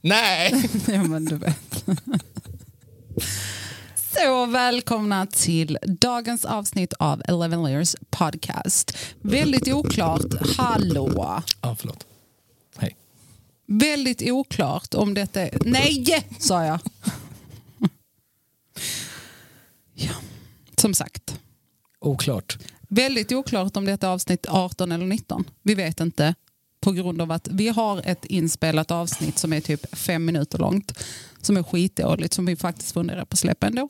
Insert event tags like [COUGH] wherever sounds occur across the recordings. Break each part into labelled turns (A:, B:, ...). A: Nej!
B: ja, men du vet. Så välkomna till dagens avsnitt av Eleven Layers podcast. Väldigt oklart, hallå.
A: Ja, förlåt. Hej.
B: Väldigt oklart om detta är... Nej, sa jag. Ja, som sagt.
A: Oklart.
B: Väldigt oklart om detta är avsnitt 18 eller 19. Vi vet inte på grund av att vi har ett inspelat avsnitt som är typ fem minuter långt som är skitdåligt som vi faktiskt funderar på att släppa ändå.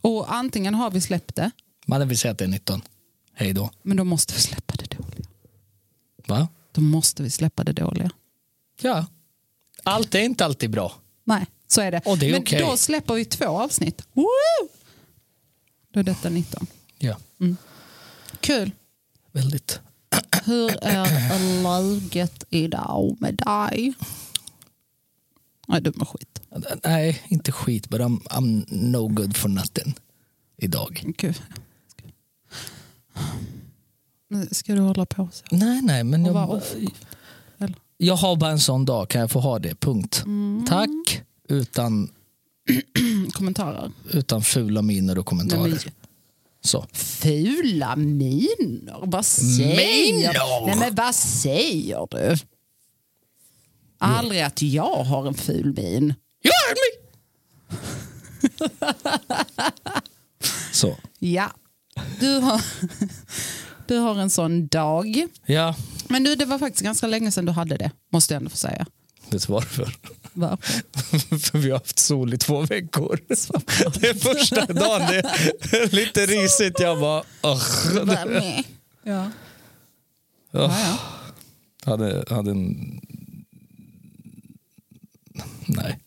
B: Och antingen har vi släppt det
A: Mannen vill säga att det är 19. Hej då.
B: men då måste vi släppa det dåliga.
A: Va?
B: Då måste vi släppa det dåliga.
A: Ja. Allt är inte alltid bra.
B: Nej, så är det.
A: Och det är
B: men
A: okej.
B: då släpper vi två avsnitt. Woo! Då är detta 19.
A: Ja.
B: Kul.
A: Väldigt.
B: Hur är läget idag med dig? Nej, du mår skit.
A: Nej, inte skit, but I'm, I'm no good for nothing idag.
B: Gud. Nu Ska du hålla på så?
A: Nej, nej, men
B: Och
A: jag,
B: vara off. Eller? Mm.
A: jag har bara en sån dag. Kan jag få ha det? Punkt. Tack. Utan,
B: Kommentarer?
A: utan fula miner och kommentarer.
B: Nej, men-
A: Så.
B: Fula miner? Vad säger
A: Minor?
B: Nej, men vad säger du? Aldrig att jag har en ful min.
A: Gör mig!
B: [LAUGHS]
A: Så.
B: Ja, du har, [LAUGHS] du har en sån dag.
A: Ja,
B: Men du, det var faktiskt ganska länge sedan du hade det, måste jag ändå få säga.
A: vet du varför?
B: Varför?
A: [LAUGHS] För vi har haft sol i två veckor. [LAUGHS] Det är första dagen det är lite risigt. Jag bara... "Ugh."
B: Ja.
A: Ja.
B: Ja, ja.
A: Hade, hade en... Nej,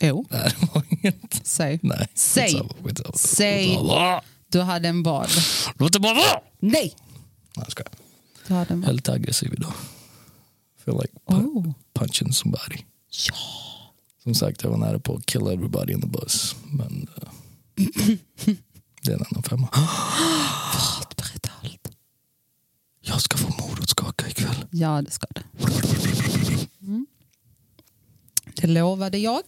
B: Jo,
A: det här var inget.
B: säg.
A: Nej.
B: Säg.
A: Skitsamma, skitsamma.
B: Säg. Du hade en vad?
A: Låt det bara vara!
B: Nej!
A: Nej, jag skojar.
B: Du hade en
A: Jag är
B: vad?
A: lite aggressiv idag. Feel like pu-
B: Oh.
A: punching somebody.
B: Ja.
A: Som sagt, jag var nära på att kill everybody in the bus. Men eh, [CLEARS THROAT] det är en annan femma.
B: Allt, berätta allt.
A: Jag ska få morotskaka ikväll.
B: Ja, det ska det. Mm. Det lovade jag.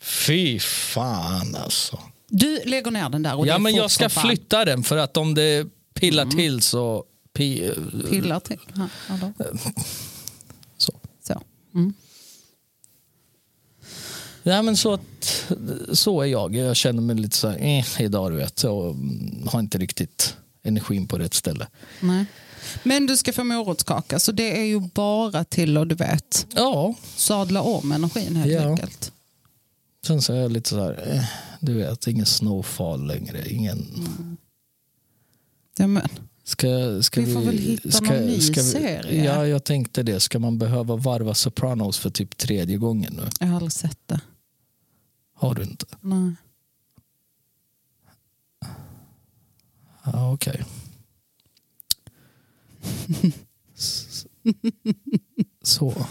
A: Fy fan alltså.
B: Du lägger ner den där. Och det
A: Ja
B: är
A: men
B: fort
A: jag ska
B: som fan. Mm.
A: flytta den för att om det pillar till så... Pi,
B: Pillar till. Ja, eller?
A: Eh. så.
B: Så. Mm.
A: Ja, men så, att, så är jag. Jag känner mig lite så här, eh, idag du vet. Och mm, har inte riktigt energin på rätt ställe.
B: Nej. Men du ska få morotskaka, så det är ju bara till att du vet
A: Ja,
B: sadla om energin helt
A: Ja.
B: enkelt.
A: sen så är jag lite så här, eh, du vet, ingen snowfall längre. Ingen...
B: Ja, men.
A: Ska, ska
B: Vi får väl hitta någon ny serie.
A: Ja, jag tänkte det. Ska man behöva varva Sopranos för typ tredje gången nu?
B: Jag har aldrig sett det.
A: Har du inte?
B: Nej.
A: Ja, okej. S- så.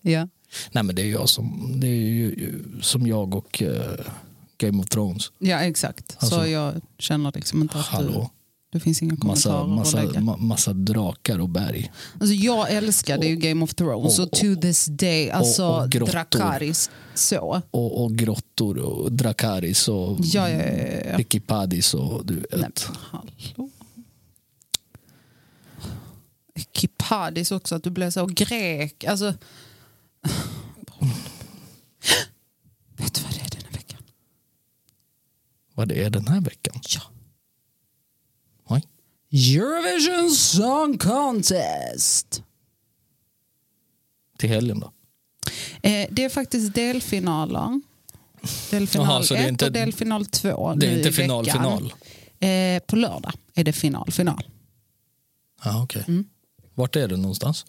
B: Ja.
A: Nej men det är jag som, det är ju, som jag och eh, Game of Thrones.
B: ja, exakt.
A: Alltså-
B: så jag känner liksom inte att du,
A: Hallå.
B: det finns inga
A: Massa,
B: kommentarer
A: massa,
B: att lägga.
A: ma- massa drakar och berg.
B: Alltså jag älskade ju Game of Thrones
A: Och-
B: och, to this day, alltså
A: och grottor.
B: Dracarys så.
A: Och, och grottor och drakaris och
B: Ja, ja, ja, ja.
A: pikipadis och du eh,
B: Nej,
A: vet.
B: men hallå. Kipadis också, att du blev så grek. Alltså... [GASPS] Vet du vad det är den här veckan?
A: Vad det är den här veckan.
B: Ja.
A: Oj.
B: Eurovision Song Contest.
A: Till helgen då.
B: Eh, det är faktiskt delfinaler. Delfinal
A: Jaha, så det är
B: 1
A: inte-
B: och delfinal 2
A: Det
B: nu
A: är
B: i
A: inte final
B: veckan.
A: final.
B: Eh, på lördag är det final final.
A: Ja, okej.
B: Mm.
A: Vart är det någonstans?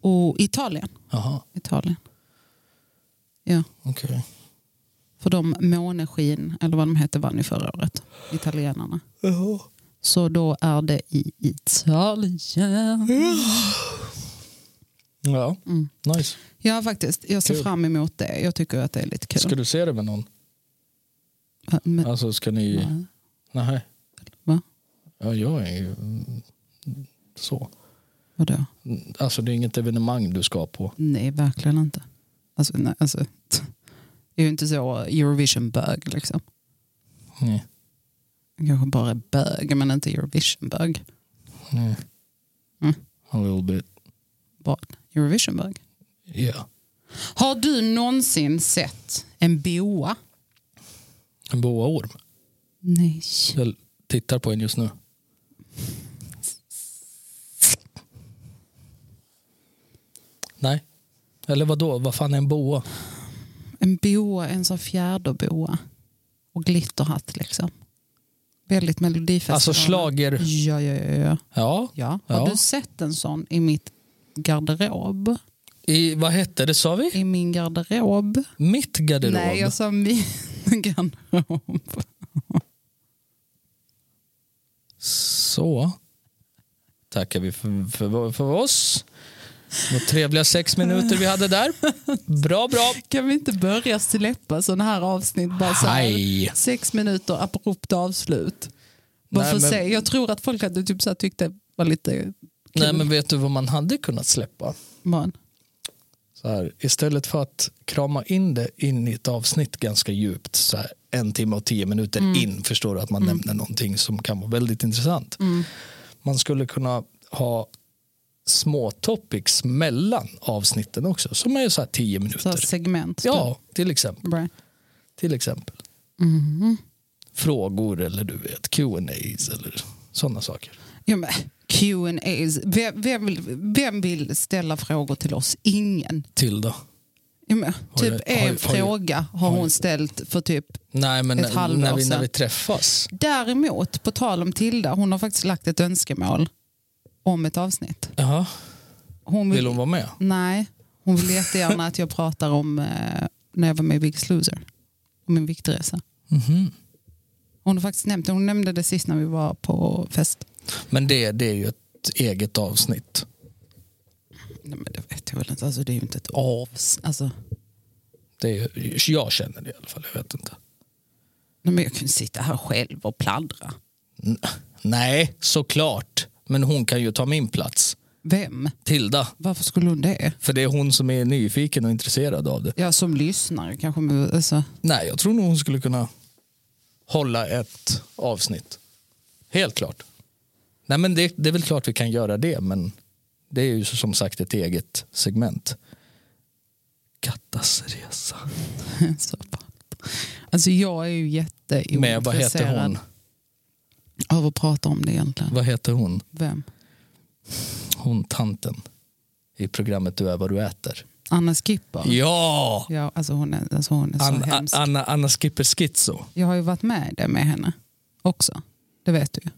B: Och Italien.
A: Jaha,
B: Italien. Ja,
A: okej.
B: för de måneskin, eller vad de hette, vann ju förra året. Italienarna. Så då är det i Italien. Mm.
A: Ja, nice.
B: Ja, faktiskt. Jag ser
A: Kul.
B: fram emot det. Jag tycker att det är lite kul.
A: Ska du se det med någon?
B: Ja, Men,
A: Alltså ska ni... Nej.
B: va?
A: Ja, jag är ju... mm, Så.
B: Vadå?
A: Alltså det är inget evenemang du ska på.
B: Nej, verkligen inte. Alltså, nej, alltså, t- jag är ju inte så Eurovision-bög. Liksom.
A: Nej.
B: Jag kanske bara är bög, men inte Eurovision-bög.
A: Nej.
B: Mm.
A: A little bit.
B: Vad? Eurovision-bög.
A: Yeah.
B: Har du någonsin sett en boa?
A: En boaorm.
B: Nej.
A: Jag tittar på en just nu. Nej. Eller vad då? Vad fan är en boa?
B: En boa, en sån fjäderboa. Och glitterhatt liksom. Väldigt melodifestival.
A: Alltså slager.
B: Ja, ja, ja. ja.
A: Ja.
B: ja. Har
A: Ja.
B: du sett en sån i mitt garderob?
A: I, vad hette det sa vi?
B: I min garderob?
A: Mitt garderob?
B: Nej, jag sa min [LAUGHS] garderob.
A: Så tackar vi för, för, för oss. Vad trevliga sex minuter vi hade där. Bra, bra.
B: Kan vi inte börja släppa sådana här avsnitt? Bara så här,
A: Hej.
B: sex minuter, abrupt avslut. Bara
A: Nej,
B: för att
A: men-
B: se. Jag tror att folk hade typ så här tyckt det var lite
A: Nej, men vet du vad man hade kunnat släppa?
B: man.
A: Så här, istället för att krama in det in i ett avsnitt ganska djupt, så här, en timme och tio minuter in, förstår du att man nämner någonting som kan vara väldigt intressant. Man skulle kunna ha små topics mellan avsnitten också, som är så här tio
B: Så här
A: minuter.
B: segment.
A: Ja, till exempel.
B: typ. Bra. Mhm.
A: till exempel. Frågor eller du vet, Q&As eller sådana saker.
B: Ja, men Q&As. Vem, vem, vill, vem vill ställa frågor till oss? Ingen.
A: Tilda.
B: Ja, men,
A: jag-
B: typ
A: har jag-
B: en
A: har jag-
B: fråga har hon ställt för typ...
A: Nej, men
B: Ett
A: när,
B: halvår
A: när, vi,
B: sedan.
A: när vi träffas.
B: Däremot, på tal om Tilda, hon har faktiskt lagt ett önskemål om ett avsnitt.
A: Jaha,
B: Hon
A: vill hon vara med?
B: Nej, hon vill jättegärna att jag pratar om eh, när jag var med i Biggest Loser. Om min viktresa.
A: Mhm.
B: Hon har faktiskt nämnt det. Hon nämnde det sist när vi var på fest.
A: Men det, det är ju ett eget avsnitt.
B: Nej, men det vet jag väl inte. Alltså, det är ju inte ett avs... Alltså,
A: Det är, ju- jag känner det i alla fall, jag vet inte.
B: nej, men jag kan ju sitta här själv och pladdra.
A: N- nej, såklart. Men hon kan ju ta min plats.
B: Vem?
A: Tilda.
B: Varför skulle hon det?
A: För det är hon som är nyfiken och intresserad av det.
B: Ja, som lyssnare kanske. men Alltså, [LAUGHS]
A: Nej, jag tror nog hon skulle kunna hålla ett avsnitt. Helt klart. Nej, men det, det är väl klart vi kan göra det, men det är ju så- som sagt ett eget segment. Kattas resa.
B: så bara. alltså jag är ju jätteointresserad
A: Med vad heter hon?
B: av att prata om det egentligen.
A: Vad heter hon?
B: Vem?
A: Hon tanten i programmet Du är vad du äter.
B: Anna Skipper?
A: Ja!
B: Ja, alltså hon är, alltså hon är så
A: Anna,
B: hemsk.
A: Anna, Anna Skipper Schizo.
B: Jag har ju varit med i det med henne också. Det vet du ju.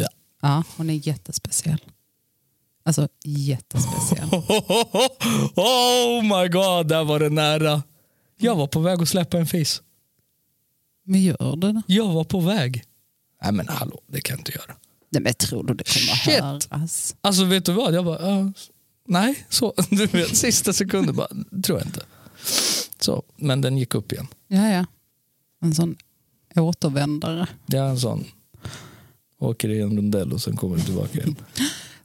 A: Ja. [LAUGHS]
B: Ja, hon är jättespeciell. Alltså jättespeciell.
A: [LAUGHS] Oh my god, där var det nära. Jag var på väg att släppa en fis.
B: Men gör det då?
A: Jag var på väg. Nej men hallå, det kan jag inte göra.
B: Nej, men tror du det kommer
A: Shit.
B: höras?
A: Alltså vet du vad, jag bara, ja, nej, så. [LAUGHS] Du vet, sista sekunden bara, tror jag inte. Så, men den gick upp igen.
B: Ja, ja. En sån återvändare.
A: Det är en sån, åker i en rondell och sen kommer du tillbaka igen.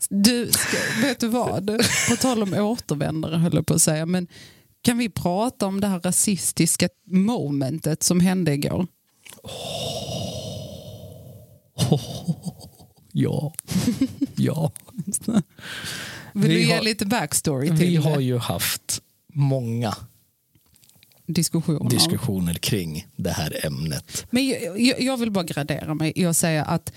B: Du, ska, vet du vad? På tal om återvändare höll jag på att säga. Men kan vi prata om det här rasistiska momentet som hände igår?
A: [LAUGHS] Ja, [LAUGHS] ja.
B: Vill
A: Vi
B: du ge
A: har-
B: lite backstory till
A: Vi
B: det?
A: har ju haft många
B: diskussioner?
A: diskussioner kring det här ämnet.
B: Men jag, jag, jag vill bara gradera mig. Jag säger att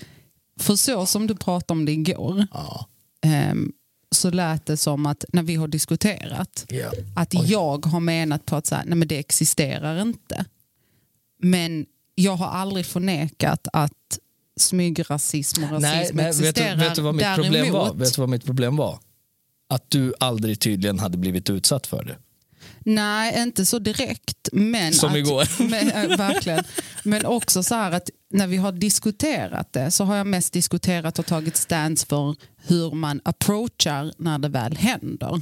B: för så som du pratade om det igår
A: Ja.
B: ehm, så lät det som att när vi har diskuterat
A: Ja.
B: att
A: Oj.
B: jag har menat på att så här, nej men det existerar inte. Men jag har aldrig förnekat att smygrasism och rasism
A: Nej, nej vet, du,
B: existerar.
A: vet du vad mitt problem var?
B: Däremot-
A: Vet du vad mitt problem var? Att du aldrig tydligen hade blivit utsatt för det.
B: Nej, inte så direkt. Men
A: Som
B: att,
A: igår.
B: [LAUGHS] Men, äh, verkligen. Men också så här att när vi har diskuterat det så har jag mest diskuterat och tagit stance för hur man approachar när det väl händer.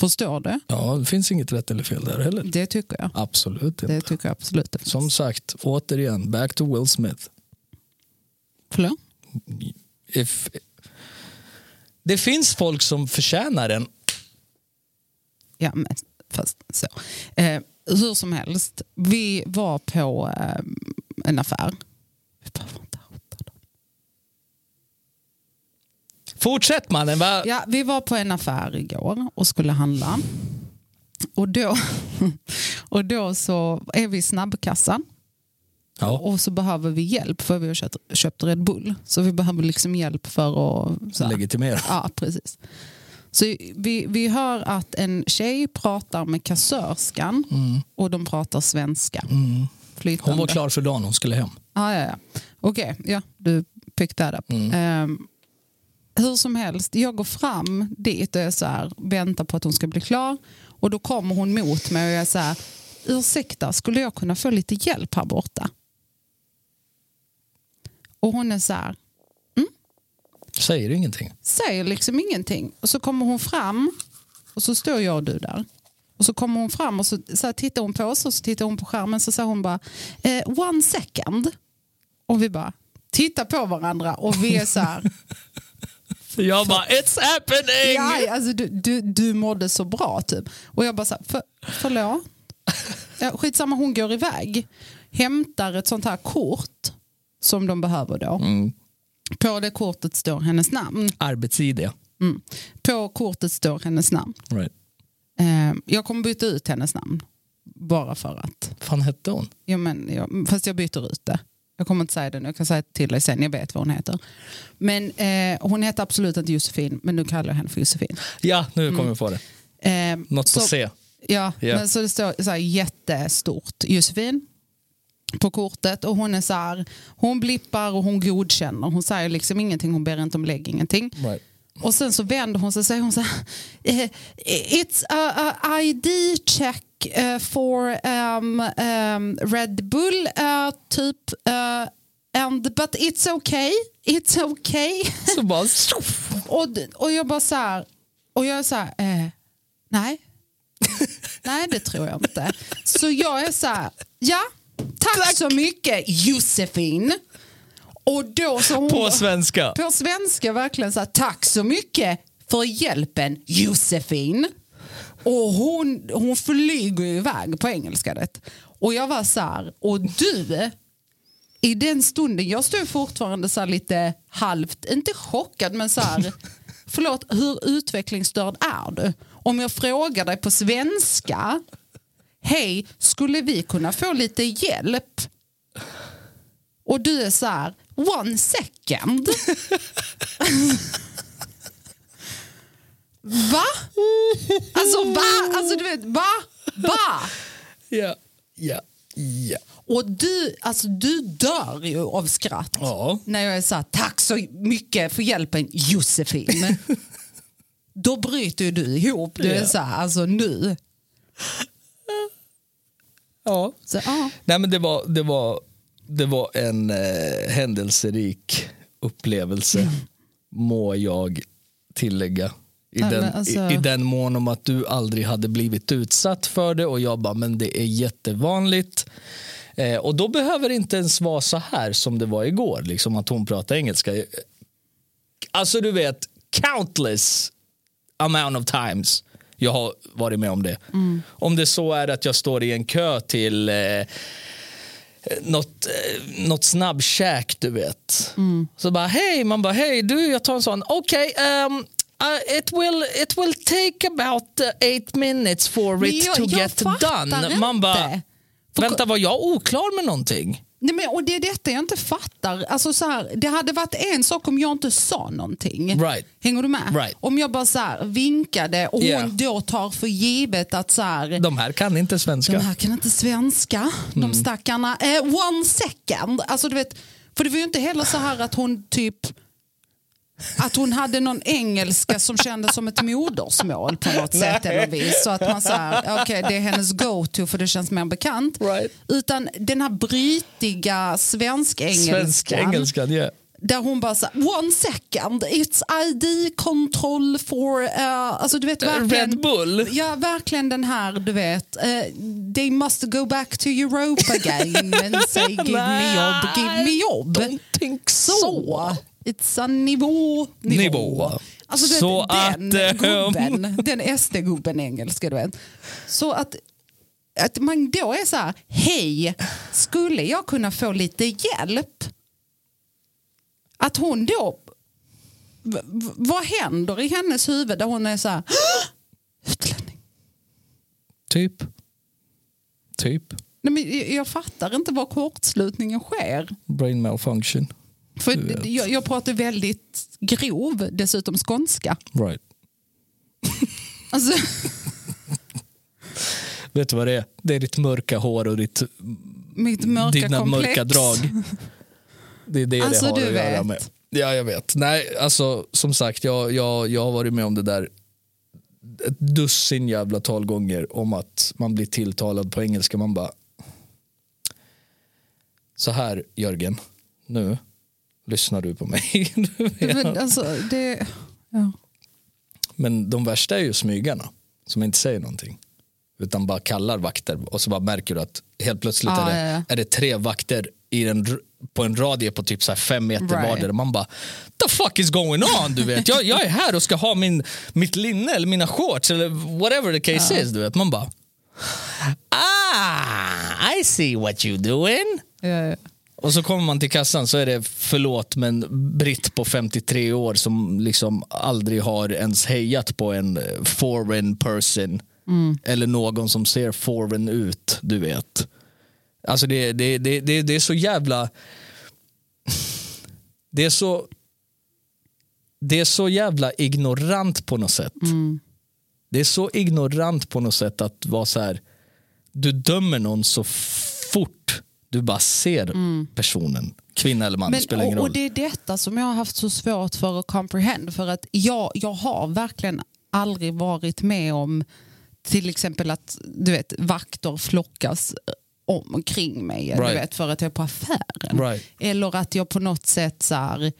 B: Förstår du?
A: Ja, det finns inget rätt eller fel där heller.
B: Det tycker jag.
A: Absolut inte.
B: Det tycker jag absolut. det finns.
A: Som sagt, återigen, back to Will Smith.
B: Förlåt?
A: If... Det finns folk som förtjänar en.
B: Ja, men fast så. Eh, hur som helst, vi var på eh, en affär. Vi behöver inte outa dem.
A: Fortsätt mannen, va?
B: Ja, vi var på en affär igår och skulle handla. Och då, [LAUGHS] och då så är vi i snabbkassan
A: Ja.
B: och så behöver vi hjälp för vi har köpt, köpt Red Bull. Så vi behöver liksom hjälp för att... Så här.
A: Legitimera.
B: Ja, precis. Så vi, vi hör att en tjej pratar med kassörskan och de pratar svenska.
A: Mm.
B: Flytande.
A: Hon var klar för dagen, hon skulle hem.
B: Ah, ja, ja. Okej, ja, du picked that up. Ehm, hur som helst, jag går fram dit och jag så här, väntar på att hon ska bli klar. Och då kommer hon mot mig och jag är så här, ursäkta, skulle jag kunna få lite hjälp här borta? Och hon är så här,
A: Säger ingenting.
B: säger liksom ingenting. Och så kommer hon fram och så står jag och du där. Och så kommer hon fram och så, så här, tittar hon på oss och så tittar hon på skärmen så säger hon bara eh, one second. Och vi bara tittar på varandra och vi är så här.
A: Jag bara, it's happening!
B: ja, alltså, du, du, du mådde så bra typ. Och jag bara så här, för, förlåt? Ja, skitsamma, hon går iväg. Hämtar ett sånt här kort som de behöver då.
A: Mm.
B: På det kortet står hennes namn.
A: Arbets-ID.
B: Mm. På kortet står hennes namn.
A: Right.
B: Eh, jag kommer byta ut hennes namn. Bara för att.
A: fan hette hon?
B: Ja, men, jag, fast jag byter ut det. Jag kommer inte säga det nu. Jag kan säga det till dig sen. Jag vet vad hon heter. Men eh, hon heter absolut inte Josefin. Men nu kallar jag henne för Josefin.
A: Ja, nu kommer vi på det.
B: Eh,
A: Något
B: Mm. så,
A: på C.
B: Ja,
A: Ja.
B: men så det står så här jättestort Josefin på kortet och hon är så här, hon blippar och hon godkänner. Hon säger liksom ingenting, hon ber inte om lägg, ingenting.
A: Right.
B: Och sen så vänder hon sig och säger hon så här, "Eh, It's a, a ID check eh, for um, um, Red Bull, eh, typ. eh, and, but it's okay, it's okay. [LAUGHS]
A: Så bara,
B: och, och jag bara så här, och jag är så här, eh, nej. nej, det tror jag inte. Så jag är så här, ja, tack, så mycket Josefin. Och då så hon
A: på svenska.
B: på svenska verkligen så här, tack så mycket för hjälpen Josefin. Och hon, hon flyger ju iväg på engelska. Det. Och jag var så här, och du, i den stunden, jag stod fortfarande så här lite halvt, inte chockad men så här, förlåt, hur utvecklingsstörd är du? Om jag frågar dig på svenska, hej, skulle vi kunna få lite hjälp? Och du är så här, one second. va? Alltså va? Alltså du vet, va? Va?
A: Ja, ja, ja.
B: Och du, alltså du dör ju av skratt.
A: Ja.
B: När jag är så här, tack så mycket för hjälpen [LAUGHS] Josefin. Då bryter ju du ihop. Du är
A: Ja.
B: så här, alltså nu.
A: ja.
B: Så, ja.
A: Nej, men det var, det var, det var en eh, händelserik upplevelse,
B: Mm.
A: må jag tillägga. I
B: Nej,
A: den,
B: men alltså-
A: i, I den mån om att du aldrig hade blivit utsatt för det och jag bara, men det är jättevanligt. Eh, och då behöver det inte ens vara så här som det var igår, liksom att hon pratar engelska. Alltså du vet, countless amount of times jag har varit med om det.
B: Mm.
A: Om det så är att jag står i en kö till eh, något, eh, något snabbkäk, du vet.
B: Mm.
A: Så bara, hej, man bara, hej, du, jag tar en sån. Okej, ehm, uh, it, will, it will take about eh, eight minutes for
B: Men
A: it
B: jag-
A: to
B: jag
A: get
B: fattar
A: done.
B: inte.
A: Man bara,
B: För-
A: vänta, var jag oklar med någonting?
B: Nej, men, och det är detta jag inte fattar. Alltså, så här, det hade varit en sak om jag inte sa någonting.
A: Right.
B: Hänger du med?
A: Right.
B: Om jag bara så här, vinkade och
A: Yeah.
B: hon då tar för givet att så här,
A: De här kan inte svenska. Mm.
B: de här kan inte svenska, de stackarna. Eh, one second. Alltså, du vet, för det var ju inte heller så här att hon typ att hon hade någon engelska som kändes som ett modersmål på något sätt eller vis. Så att man så här, okej det är hennes go-to för det känns mer bekant.
A: Right.
B: Utan den här brytiga svensk-engelskan.
A: Svensk engelska, ja.
B: Där hon bara så här, one second, it's ID control for, eh, alltså du vet verkligen.
A: Red Bull.
B: Ja, verkligen den här, du vet. eh, they must go back
A: [LAUGHS]
B: to Europe again and say give me job, give me job.
A: Don't think so.
B: Så. it's a nivå.
A: Nivå.
B: Alltså, du
A: Så
B: vet, den
A: att, eh, [LAUGHS]
B: gubben, den SD-gubben engelska du vet. Så att, att man då är så här, hej, skulle jag kunna få lite hjälp? Att hon då, v- v- vad händer i hennes huvud där hon är så här, utlänning?
A: Typ. Typ.
B: Nej, men jag- jag fattar inte var kortslutningen sker.
A: Brain malfunction.
B: För
A: Du vet.
B: jag, jag pratar väldigt grov, dessutom skånska.
A: Right.
B: Alltså,
A: Vet du vad det är? Det är ditt mörka hår och ditt,
B: mitt mörka
A: dina
B: komplex.
A: mörka drag. Det är det
B: Alltså,
A: det har
B: du
A: att göra
B: vet.
A: med. Ja, jag vet. Nej, alltså som sagt, jag, jag, jag har varit med om det där ett dussin jävla tal gånger om att man blir tilltalad på engelska. Man bara, så här Jörgen, nu lyssnar du på mig. [LAUGHS]
B: Men, alltså, det, ja.
A: Men de värsta är ju smygarna som inte säger någonting. Utan bara kallar vakter och så bara märker du att helt plötsligt
B: Ja,
A: är, det,
B: ja, ja.
A: är det tre vakter i en, r- på en radie på typ så här fem meter
B: Right.
A: vardera. Man bara, the fuck is going on? Du vet, jag, jag är här och ska ha min, mitt linne eller mina shorts eller whatever the case is. Du vet. Man bara, ah, I see what you doing.
B: Ja, ja.
A: Och så kommer man till kassan så är det förlåt men britt på 53 år som liksom aldrig har ens hejat på en eh, foreign person eller någon som ser foreign ut, du vet. Alltså det, det, det, det, det är så jävla... Det är så... Det är så jävla ignorant på något sätt.
B: Mm.
A: Det är så ignorant på något sätt att vara så här. Du dömer någon så fort du bara ser personen. Kvinna eller man, det spelar
B: Mm. Men,
A: ingen
B: och, och
A: roll.
B: det är detta som jag har haft så svårt för att comprehend. För att jag, jag har verkligen aldrig varit med om till exempel att du vet, vakter flockas eh, om och kring mig. Du
A: Right.
B: vet, för att jag är på affären.
A: Right.
B: Eller att jag på något sätt så här,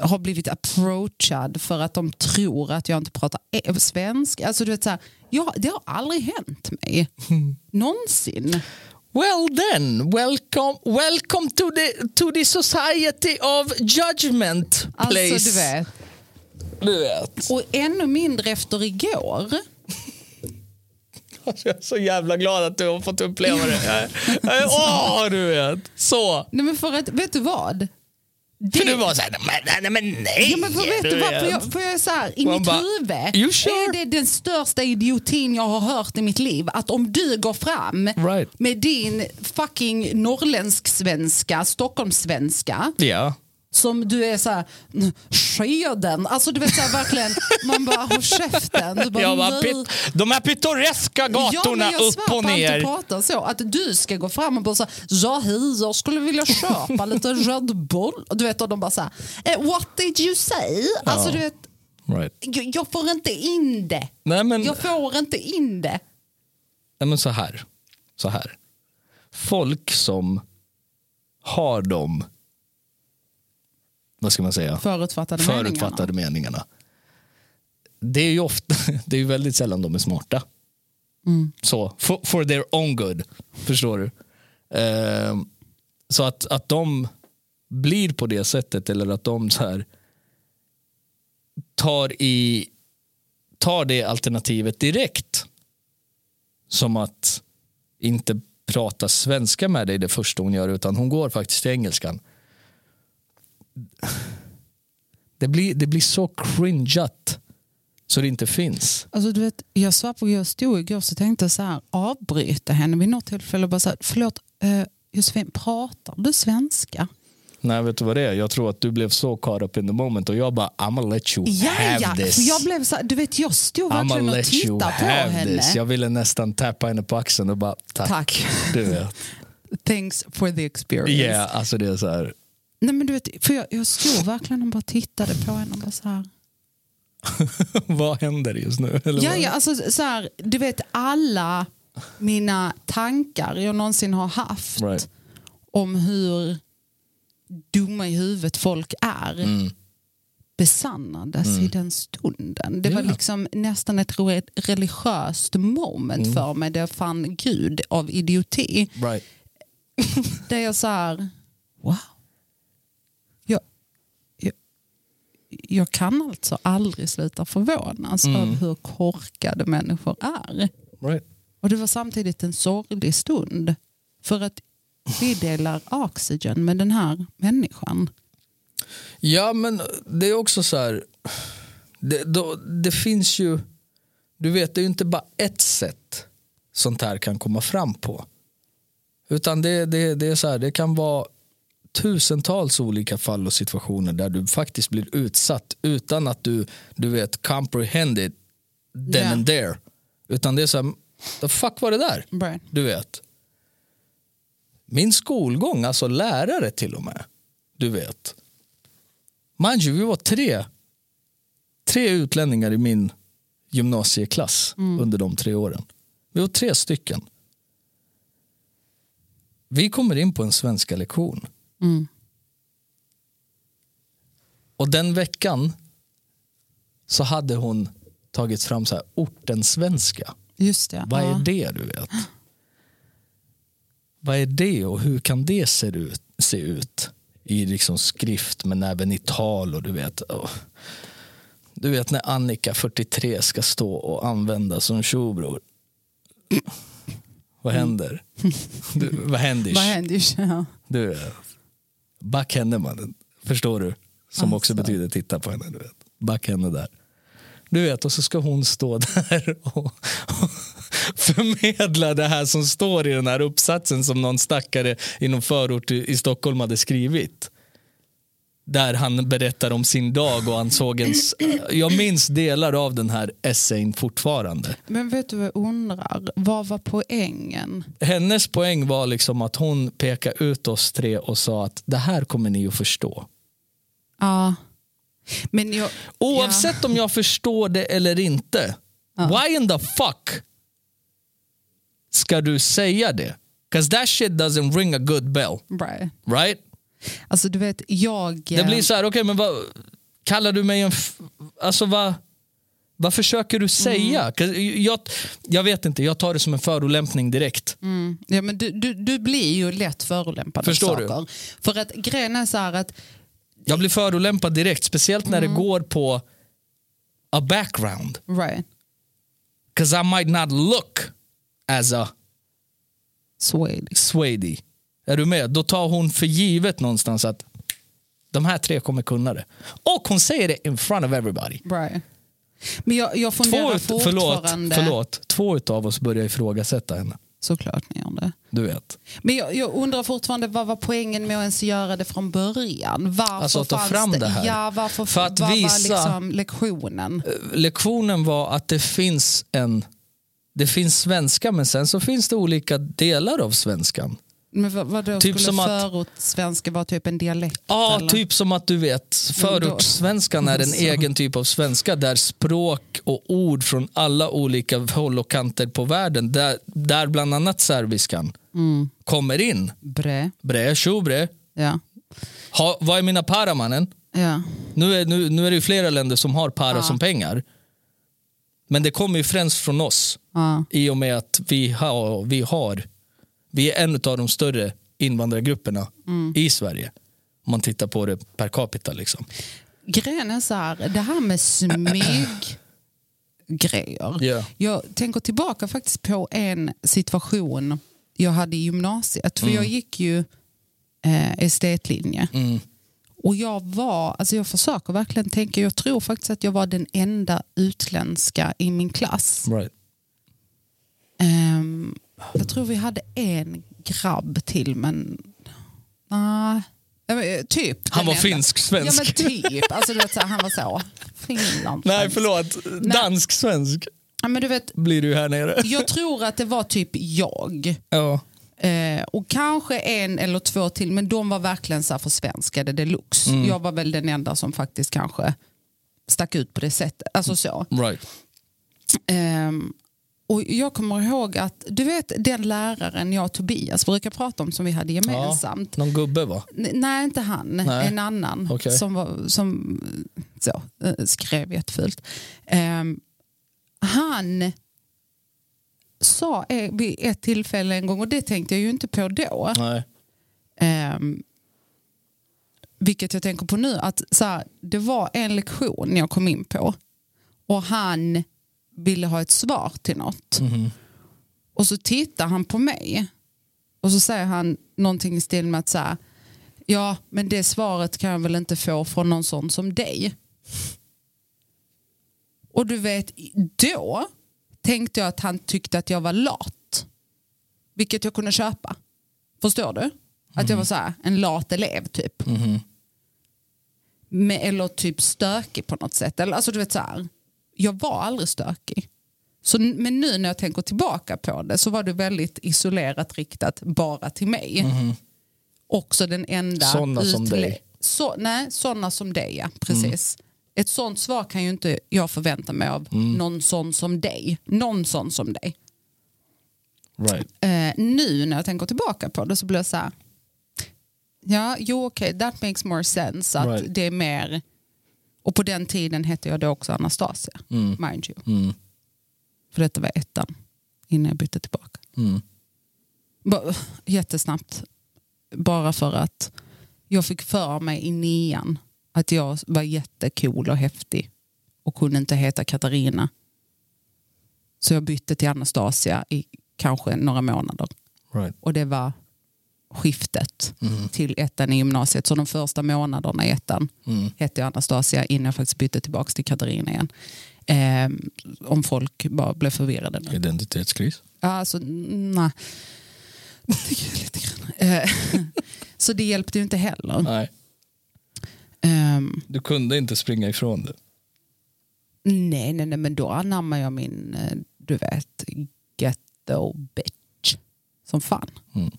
B: har blivit approachad för att de tror att jag inte pratar e- svensk. Alltså, du vet, så här, ja, det har aldrig hänt mig.
A: Hmm.
B: Någonsin.
A: Well then, welcome, welcome to, the, to the society of judgment place.
B: Alltså, du vet.
A: Du vet.
B: Och ännu mindre efter igår.
A: Alltså, jag är så jävla glad att du har fått uppleva det.
B: [LAUGHS]
A: här. Jag är- Åh, du vet. Så.
B: Nej, men för att, vet du vad? Det,
A: För du var såhär, nej, nej, men nej.
B: ja, men för, vet du vad? För jag, för jag är så här, i
A: Man
B: mitt
A: bara,
B: huvud
A: "You sure?"
B: är det den största idiotin jag har hört i mitt liv. Att om du går fram
A: Right.
B: med din fucking norrländsk-svenska, Stockholmssvenska,
A: Ja.
B: som du är så här, skeden, alltså du vet så här, verkligen, man bara har käften. Du bara,
A: Jag
B: "Mm,
A: bara,
B: "Nej."
A: "Pit- de här pittoreska gatorna
B: ja, men jag
A: upp och ner.
B: Jag pratar så. Att du ska gå fram och bara så ja hej, jag skulle vilja köpa
A: [LAUGHS]
B: lite Red Bull. Och Du vet, och de bara så här, eh, what did you say? Alltså du vet,
A: Right.
B: jag, jag får inte in det.
A: Nej, men,
B: Jag får inte in det.
A: nej, men så här. Så här. Folk som har de, vad ska man säga,
B: Förutfattade,
A: förutfattade meningarna. Det är ju ofta, [LAUGHS] det är ju väldigt sällan de är smarta. Så, for, for their own good, förstår du. Ehm, så att, att de blir på det sättet eller att de så här tar, i, tar det alternativet direkt. Som att inte prata svenska med dig det första hon gör utan hon går faktiskt till engelskan. Det blir, det blir så cringeat så det inte finns.
B: Alltså, du vet, jag svär på jag stod igår så tänkte jag så här, avbryta henne vid något tillfälle och bara så här, förlåt eh, Josefin, pratar du svenska?
A: Nej, vet du vad det är? Jag tror att du blev så caught up in the moment och jag bara I'm gonna let you
B: Ja,
A: have
B: ja.
A: this.
B: För jag blev så här, du vet jag stod
A: I'm
B: verkligen
A: gonna
B: och
A: let you
B: tittade på
A: have
B: henne.
A: this. Jag ville nästan tappa henne på axeln och bara tack.
B: Tack.
A: Du vet. [LAUGHS]
B: Thanks for the experience.
A: Yeah, alltså det är så här.
B: Nej, men du vet, för jag, jag stod verkligen och bara tittade på henne och bara så här.
A: [LAUGHS] vad händer just nu? Eller
B: Ja,
A: vad?
B: ja, alltså, så här, du vet alla mina tankar jag någonsin har haft
A: Right.
B: om hur dumma i huvudet folk är
A: Mm.
B: besannades i den stunden. Det var
A: Ja.
B: liksom nästan ett re- religiöst
A: Mm.
B: moment för mig där jag fann Gud av idioti.
A: Right.
B: Där jag så här, wow. Jag, jag kan alltså aldrig sluta förvånas
A: Mm.
B: över hur korkade människor är.
A: Right.
B: Och det var samtidigt en sorglig stund. För att vi delar oxygen med den här människan.
A: Ja, men det är också så här. Det, då, det finns ju, du vet det är ju inte bara ett sätt sånt här kan komma fram på. Utan det, det, det är så här, det kan vara tusentals olika fall och situationer där du faktiskt blir utsatt utan att du, du vet, comprehend it then
B: Ja.
A: and there. Utan det är så här, the fuck var det där?
B: Right.
A: du vet. Min skolgång, alltså lärare till och med, du vet. Mind you, vi var tre, tre utlänningar i min gymnasieklass under de tre åren. Vi var tre stycken. Vi kommer in på en svenska lektion.
B: Mm.
A: Och den veckan så hade hon tagit fram så här ortensvenska.
B: Just det.
A: Vad
B: ja.
A: är det du vet? Vad är det och hur kan det se ut, se ut? I liksom skrift men även i tal och du vet. åh. Du vet när Annika 43 ska stå och använda som tjobror. [CLEARS THROAT] Vad händer? Du, vad händer?
B: Mm. Vad händer? Ja.
A: Du vet. Back henne mannen. Förstår du? Som också
B: Alltså.
A: betyder titta på henne. Du vet. Back henne där. Du vet, och så ska hon stå [LAUGHS] där och, och förmedla det här som står i den här uppsatsen som någon stackare i någon förort i, i Stockholm hade skrivit. Där han berättar om sin dag och han såg en... s- Jag minns delar av den här essayn fortfarande.
B: Men vet du vad jag undrar? Vad var poängen?
A: hennes poäng var liksom att hon pekade ut oss tre och sa att det här kommer ni att förstå.
B: Ja. Men jag,
A: Oavsett om jag förstår det eller inte. Why in the fuck ska du säga det? Cause that shit doesn't ring a good bell.
B: Ja, right.
A: Right?
B: Alltså du vet, jag... eh,
A: Det blir så här, okej men vad kallar du mig en... F- alltså vad... Vad försöker du säga? 'Cause Jag, jag vet inte, jag tar det som en förolämpning direkt.
B: Mm. Ja, men du, du, du blir ju lätt förolämpad
A: Förstår du?
B: av saker. För att grejen är så här att
A: Jag blir förolämpad direkt, speciellt när det går på a background.
B: right,
A: Because I might not look as a
B: Swedish.
A: Swady. Är du med? Då tar hon för givet någonstans att de här tre kommer kunna det. Och hon säger det in front of everybody.
B: Right. Men jag, jag
A: Två,
B: funderar
A: ut, förlåt,
B: fortfarande...
A: förlåt, två utav oss börjar ifrågasätta henne.
B: Såklart ni gör det.
A: Du vet.
B: Men jag, jag undrar fortfarande vad var poängen med att ens göra det från början? Varför
A: Alltså, ta
B: fanns
A: fram
B: det?
A: det här.
B: Ja, varför,
A: För att
B: vad
A: visa-
B: var liksom lektionen?
A: Eh, Lektionen var att det finns en... Det finns svenska men sen så finns det olika delar av svenskan.
B: Men vad, vad då
A: Typ
B: skulle
A: som att-
B: förortssvenska vara typ en dialekt?
A: Ja,
B: eller?
A: typ som att du vet, förortssvenskan är en
B: Så.
A: egen typ av svenska där språk och ord från alla olika håll och kanter på världen, där, där bland annat serviskan
B: Mm.
A: kommer in.
B: Brä.
A: Bre, tjo bre,
B: Ja.
A: ha, vad är mina para mannen?
B: ja.
A: Nu är, nu, nu är det ju flera länder som har para som pengar. Men det kommer ju främst från oss
B: ja.
A: i och med att vi har, vi, har, vi är en av de större invandrargrupperna
B: Mm.
A: i Sverige. Om man tittar på det per capita. Liksom.
B: Grejen är så här, det här med smyg grejer.
A: Ja.
B: Jag tänker tillbaka faktiskt på en situation jag hade i gymnasiet. För jag gick ju eh, estetlinje. Och jag var, alltså jag försöker verkligen tänka, jag tror faktiskt att jag var den enda utländska i min klass.
A: Right.
B: Ehm, jag tror vi hade en grabb till men... nej. Ja, men, eh, typ.
A: Han
B: den
A: var
B: enda.
A: finsk-svensk.
B: Ja men typ. Alltså, du vet, så här, han var så. Finland.
A: Nej,
B: svensk.
A: förlåt. Dansk-svensk
B: Ja, men du vet,
A: blir du här nere.
B: jag tror att det var typ jag.
A: Ja.
B: Eh, och kanske en eller två till, men de var verkligen så här försvenskade deluxe.
A: Mm.
B: Jag var väl den enda som faktiskt kanske stack ut på det sättet. Alltså så.
A: Right.
B: Ehm, och jag kommer ihåg att, du vet den läraren jag och Tobias brukar prata om som vi hade gemensamt.
A: Någon gubbe va?
B: N- Nej, inte han.
A: Nej.
B: En annan
A: Okej.
B: som, var, som eh, så, eh, skrev jättefult. Ehm, han sa eh, vid ett tillfälle en gång, och det tänkte jag ju inte på då,
A: Nej.
B: ehm, vilket jag tänker på nu, att så här, det var en lektion jag kom in på och han ville ha ett svar till något. Och så tittar han på mig och så säger han någonting i stil med att så här, ja men det svaret kan jag väl inte få från någon sån som dig. Och du vet, då tänkte jag att han tyckte att jag var lat. Vilket jag kunde köpa. Förstår du? Att
A: Mm.
B: jag var så här, en lat elev typ.
A: Mm-hmm.
B: Med, eller typ stökig på något sätt. Eller, alltså du vet så här, jag var aldrig stökig. Så, n- men nu när jag tänker tillbaka på det så var det väldigt isolerat riktat bara till mig. Också den enda
A: Mm-hmm. Såna som
B: utle-
A: dig. Mm.
B: Så, nej, sådana som dig ja, precis. Ett sånt svar kan ju inte jag förvänta mig av någon sån som dig. Någon sån som dig
A: Right.
B: eh, nu när jag tänker tillbaka på det så blir jag så här. Ja, jo okej, that makes more sense. Att
A: Right.
B: det är mer, och på den tiden hette jag då också Anastasia, mind you.
A: Mm.
B: För detta var ettan, innan jag bytte tillbaka.
A: Mm.
B: Ba- Jättesnabbt, bara för att jag fick för mig i nian att jag var jättecool och häftig och kunde inte heta Katarina. Så jag bytte till Anastasia i kanske några månader
A: Right.
B: och det var skiftet till ettan i gymnasiet. Så de första månaderna i ettan hette jag Anastasia innan jag faktiskt bytte tillbaka till Katarina igen. Ehm, om folk bara blev förvirrade.
A: Mm.
B: nu.
A: Identitetskris.
B: Ja, Alltså, nej. Tycker jag lite grann. Eh, [LAUGHS] Så det hjälpte ju inte heller.
A: Nej,
B: Ehm,
A: du kunde inte springa ifrån det.
B: nej, nej, nej, men då anammar jag min, eh, du vet, ghetto bitch som fan.
A: Mm.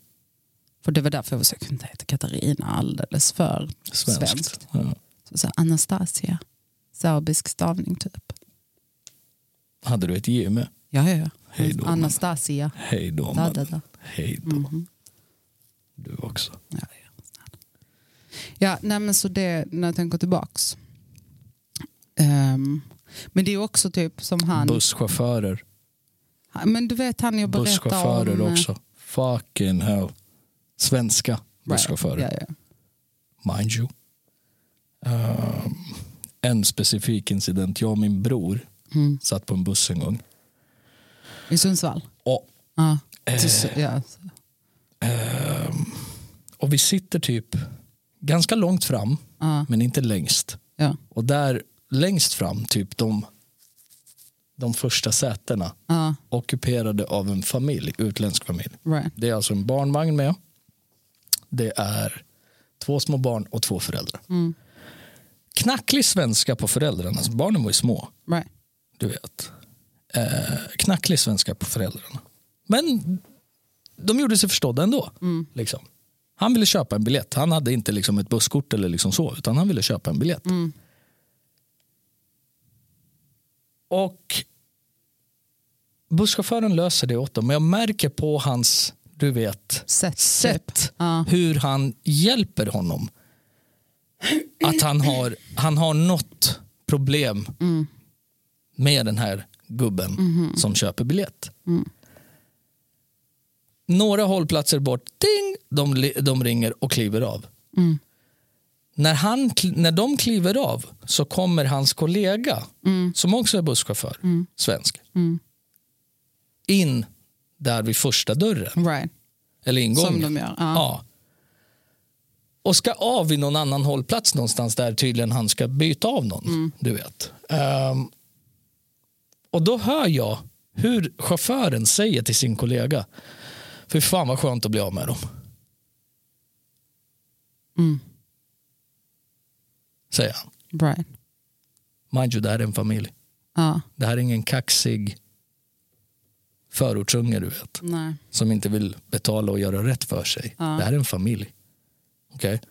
B: För det var därför jag försökte inte heta Katarina alldeles för
A: Svenskt.
B: svenskt.
A: Ja.
B: Så, så här, Anastasia, serbisk stavning typ.
A: Hade du ett J med?
B: Ja, ja,
A: Hej då,
B: ja. Anastasia.
A: Hej då,
B: Da, da,
A: mannen.
B: da.
A: Hej då.
B: Mhm.
A: Du också.
B: Ja, ja. snälla. ja nej, men så det när jag tänker tillbaks. Ehm, men det är ju också typ som han,
A: Busschaufförer.
B: han- men du vet han jag berättade
A: Busschaufförer
B: om.
A: också. Fucking hell. Svenska busschaufförer.
B: Ja, ja.
A: Mind you. Ehm, en specifik incident. Jag och min bror
B: Mm.
A: satt på en buss en gång.
B: I Sundsvall?
A: Och
B: Ja.
A: Eh,
B: Till- ja.
A: ehm, Och vi sitter typ ganska långt fram,
B: Ja.
A: men inte längst.
B: Ja.
A: Och där längst fram, typ de, de första sätena,
B: Ja.
A: ockuperade av en familj, utländsk familj.
B: Right.
A: Det är alltså en barnvagn med. Det är två små barn och två föräldrar.
B: Mm.
A: Knacklig svenska på föräldrarna, så barnen var ju små.
B: Right.
A: du vet. Eh, knacklig svenska på föräldrarna. Men de gjorde sig förstådda ändå. Liksom. Han ville köpa en biljett. Han hade inte liksom ett busskort eller liksom så, utan han ville köpa en biljett.
B: Mm.
A: Och busschauffören löser det åt dem. Men jag märker på hans, du vet,
B: Sätt.
A: sätt
B: Typ. Ja.
A: hur han hjälper honom. Att han har, han har något problem med den här gubben
B: Mhm.
A: som köper biljett.
B: Mm.
A: Några hållplatser bort, ding, de, li- de ringer och kliver av.
B: Mm.
A: När, han, kl- när de kliver av så kommer hans kollega, som också är busschaufför, svensk,
B: Mm.
A: in där vid första dörren,
B: Right.
A: eller ingången.
B: Som de gör. Ja.
A: Ja. Och ska av vid någon annan hållplats någonstans där tydligen han ska byta av någon.
B: Mm.
A: Du vet. Ehm, och då hör jag hur chauffören säger till sin kollega. För fan vad skönt att bli av med dem.
B: Mm.
A: Säger han.
B: Right.
A: Mind you, det här är en familj.
B: Ja.
A: Det här är ingen kaxig förortsunge du vet.
B: Nej.
A: Som inte vill betala och göra rätt för sig.
B: Ja.
A: Det här är en familj. Okej?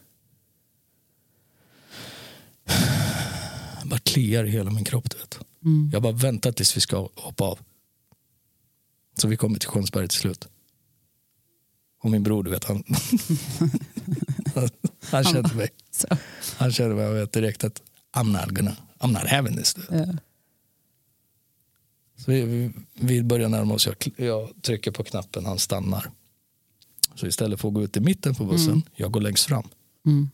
A: Jag bara kliar i hela min kropp. Du vet.
B: Mm.
A: Jag bara väntar tills vi ska hoppa av. Så vi kommer till Sjönsberg till slut. Och min bror, du vet,
B: [LAUGHS]
A: han, han kände mig.
B: Så.
A: Han kände mig och vet direkt att I'm not, gonna, I'm not having this. Du vet.
B: Ja.
A: Så vi, vi, vi börjar närma oss. Jag, kl- jag trycker på knappen, han stannar. Så istället för att gå ut i mitten på bussen, jag går längst fram.
B: Mm.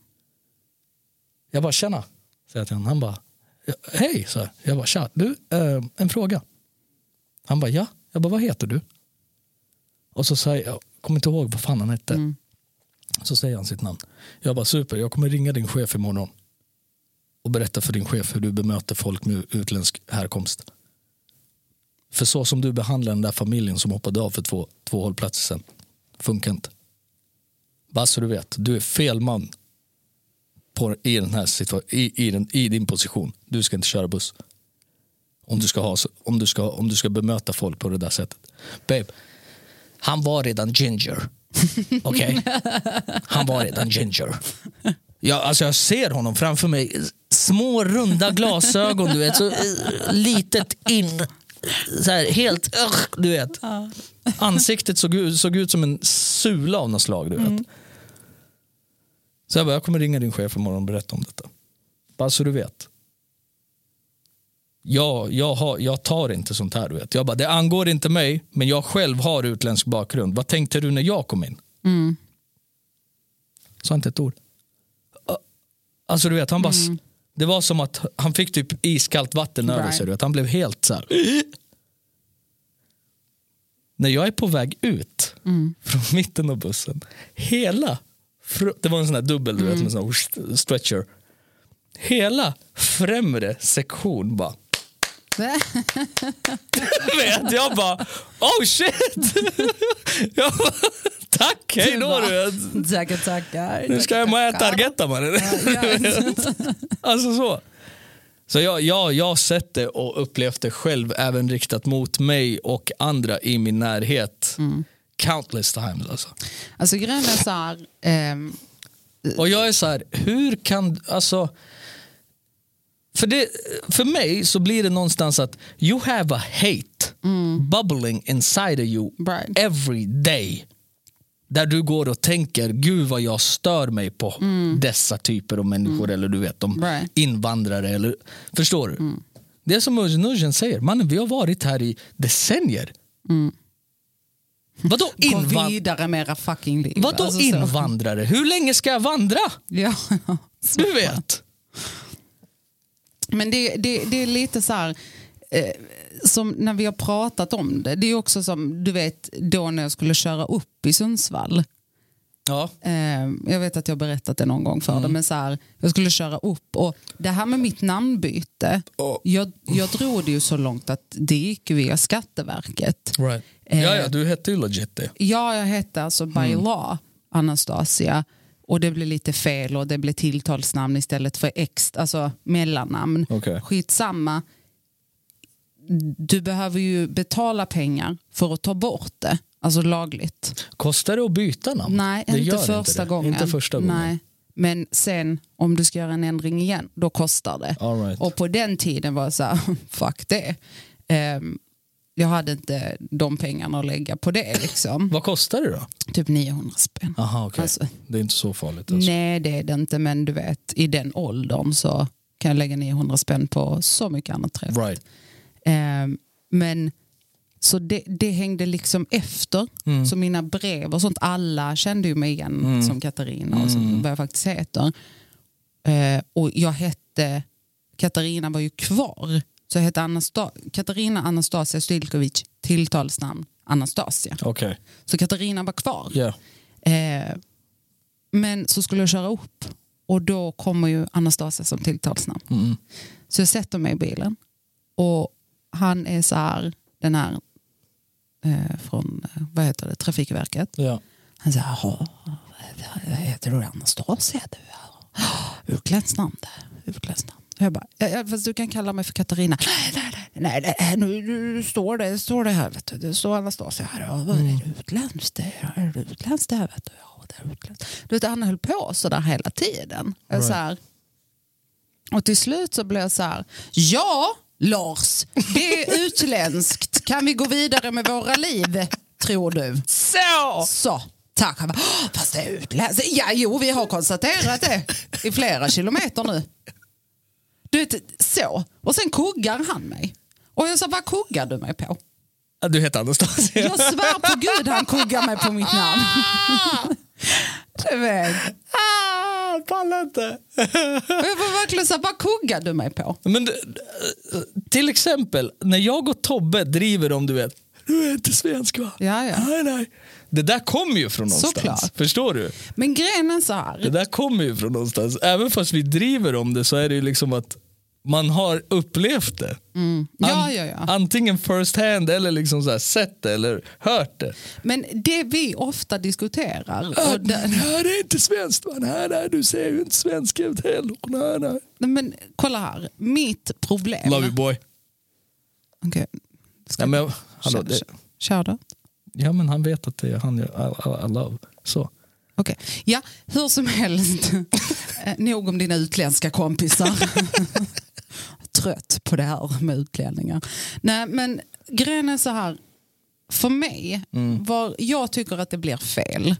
A: Jag bara, tjena, Säger jag till honom. Han bara, "Ja, hej, så Jag bara, tja, du, eh, en fråga. Han bara, ja. Jag bara, vad heter du? Och så säger jag, kommer inte ihåg vad fan han hette.
B: Mm.
A: Så säger han sitt namn. Jag bara, super, jag kommer ringa din chef imorgon. Och berätta för din chef hur du bemöter folk med utländsk härkomst. För så som du behandlar den där familjen som hoppade av för två, två hållplatser sedan, funkar inte. Bara så du vet, du är fel man på, i, den här situa- i, i, den, i din position. Du ska inte köra buss. Om du ska, ha, så- om du ska, om du ska bemöta folk på det där sättet. Babe, han var redan ginger. Okej? Han var redan ginger. Jag, alltså jag ser honom framför mig. Små runda glasögon, du vet. Så eh, litet in. Så här, helt, ugh, du vet. Ansiktet såg ut, såg ut som en sula av något slag. Du vet. Så jag bara, jag kommer ringa din chef imorgon och berätta om detta. Bara så du vet. Jag, jag, har, jag tar inte sånt här. Du vet. Jag bara, det angår inte mig, men jag själv har utländsk bakgrund. Vad tänkte du när jag kom in?
B: Mm.
A: Sa inte ett ord. Ö, Alltså du vet, han bara, s-
B: Mm.
A: Det var som att han fick typ iskallt vatten över
B: Right.
A: sig. Du vet. Han blev helt så här. [GASPS] När jag är på väg ut
B: Mm.
A: från mitten av bussen, hela, fr- det var en sån här dubbel, du vet,
B: Mm.
A: med sån här stretcher. Hela främre sektion bara vet. Jag bara, oh shit! Jag bara, Tack, hej då du vet.
B: [LAUGHS] Tackar, tackar.
A: Nu ska jag med Targetta mannen. [LAUGHS] Alltså så. Så jag, jag, jag har sett det och upplevt det själv, även riktat mot mig och andra i min närhet. Countless times alltså.
B: Alltså grejen är så här, ehm,
A: Och jag är så här, hur kan, alltså. För, det, för mig så blir det någonstans att you have a hate bubbling inside of you
B: Right.
A: every day. Där du går och tänker, gud vad jag stör mig på dessa typer av människor eller du vet, de
B: Mm. Right. Mm.
A: invandrare. Eller, förstår du? Det är som Özjan säger, mannen vi har varit här i decennier.
B: Mm. [LAUGHS]
A: Vadå
B: gå
A: invandrare?
B: vidare med era fucking liv.
A: Vadå
B: Alltså, så-
A: invandrare? Hur länge ska jag vandra?
B: [LAUGHS] Ja.
A: Du vet.
B: Men det, det, det är lite så här, eh, som när vi har pratat om det, det är också som du vet då när jag skulle köra upp i Sundsvall.
A: Ja.
B: Eh, jag vet att jag har berättat det någon gång för
A: Mm.
B: dig, men så här, jag skulle köra upp och det här med mitt namnbyte,
A: Ja.
B: jag, jag drog det ju så långt att det gick via Skatteverket.
A: Right.
B: Eh.
A: Ja, ja, du hette ju legit det.
B: Ja, jag hette alltså by
A: Mm.
B: law Anastasia och det blev lite fel och det blev tilltalsnamn istället för ex, alltså mellannamn.
A: Okej.
B: Skitsamma. Du behöver ju betala pengar för att ta bort det, alltså lagligt.
A: Kostar det att byta namn?
B: Nej,
A: det
B: inte
A: gör
B: första
A: det.
B: gången.
A: Inte första gången.
B: Nej. Men sen om du ska göra en ändring igen, då kostar det.
A: All right.
B: Och på den tiden var jag så här, [LAUGHS] fuck det. Ehm, jag hade inte de pengarna att lägga på det liksom.
A: Vad kostar det då?
B: Typ 900 spänn.
A: Aha, okay.
B: Alltså-
A: det är inte så farligt. Alltså.
B: Nej det är det inte men du vet i den åldern så kan jag lägga 900 spänn på så mycket annat trevligt.
A: Right.
B: Ehm, men så det, det hängde liksom efter. Så mina brev och sånt, alla kände ju mig igen som Katarina och så, vad jag faktiskt heter. Eh, och jag hette, Katarina var ju kvar. Så jag hette Anasta- Katarina Anastasia Stilkovic, tilltalsnamn Anastasia.
A: Okej.
B: Så Katarina var kvar.
A: Yeah.
B: Eh, men så skulle jag köra upp och då kommer ju Anastasia som tilltalsnamn.
A: Mm.
B: Så jag sätter mig i bilen och han är så här, den här eh, från eh, vad heter det, Trafikverket.
A: Ja.
B: Han säger, jaha, vad heter du Anastasia du? Ja, [GASPS] Utländskt namn det, utländskt namn. Och Jag bara, ja, ja, fast du kan kalla mig för Katarina. [GASPS] Nej, nej, nej, nej, nej nu, nu står det, står det här, vet du. det står Anastasia här. Ja, vad är det utländskt det? Ja, Är det utländskt det här? Vet du? Ja, det är utländskt. Du vet, han höll på så där hela tiden. Jag är Så här, och till slut så blev jag så här, ja Lars, det är utländskt. Kan vi gå vidare med våra liv, tror du?
A: Så!
B: Så, tack. Han bara, "Åh, fast det är utländskt. Ja, jo, vi har konstaterat det i flera kilometer nu. Du vet, så. Och sen kuggar han mig. Och jag sa, vad kuggar du mig på?
A: Du heter Anastasia.
B: Jag svär
A: [LAUGHS]
B: på gud han kuggar mig på mitt namn. Du vet.
A: Ah, jag pallar inte.
B: Och jag var verkligen så här, vad kuggar du mig på?
A: Men det- till exempel, när jag och Tobbe driver om du vet, du är inte svensk va?
B: Ja, ja.
A: Nej, nej. Det där kommer ju från någonstans.
B: Såklart.
A: Förstår du?
B: Men grejen är så
A: Det
B: här.
A: där kommer ju från någonstans. Även fast vi driver om det så är det ju liksom att man har upplevt det.
B: Ja,
A: An-
B: Mm, ja, ja.
A: Antingen first hand eller liksom så här, sett det eller hört det.
B: Men det vi ofta diskuterar,
A: Ah,
B: och det,
A: Nej, det är inte svenskt. va? Nej, nej, du ser ju inte svensk ut heller. Nej, nej.
B: Nej, men kolla här, mitt problem...
A: Love you boy.
B: Okej. Ska
A: Ja, men, hallå,
B: Kör-
A: det,
B: kör- kör då.
A: ja, men han vet att det är han jag I, I, I love. Så.
B: Okej. Ja, hur som helst. Eh, Nog om dina utländska kompisar. Trött på det här med utlänningar. Nej, men grejen är så här. För mig, var jag tycker att det blir fel,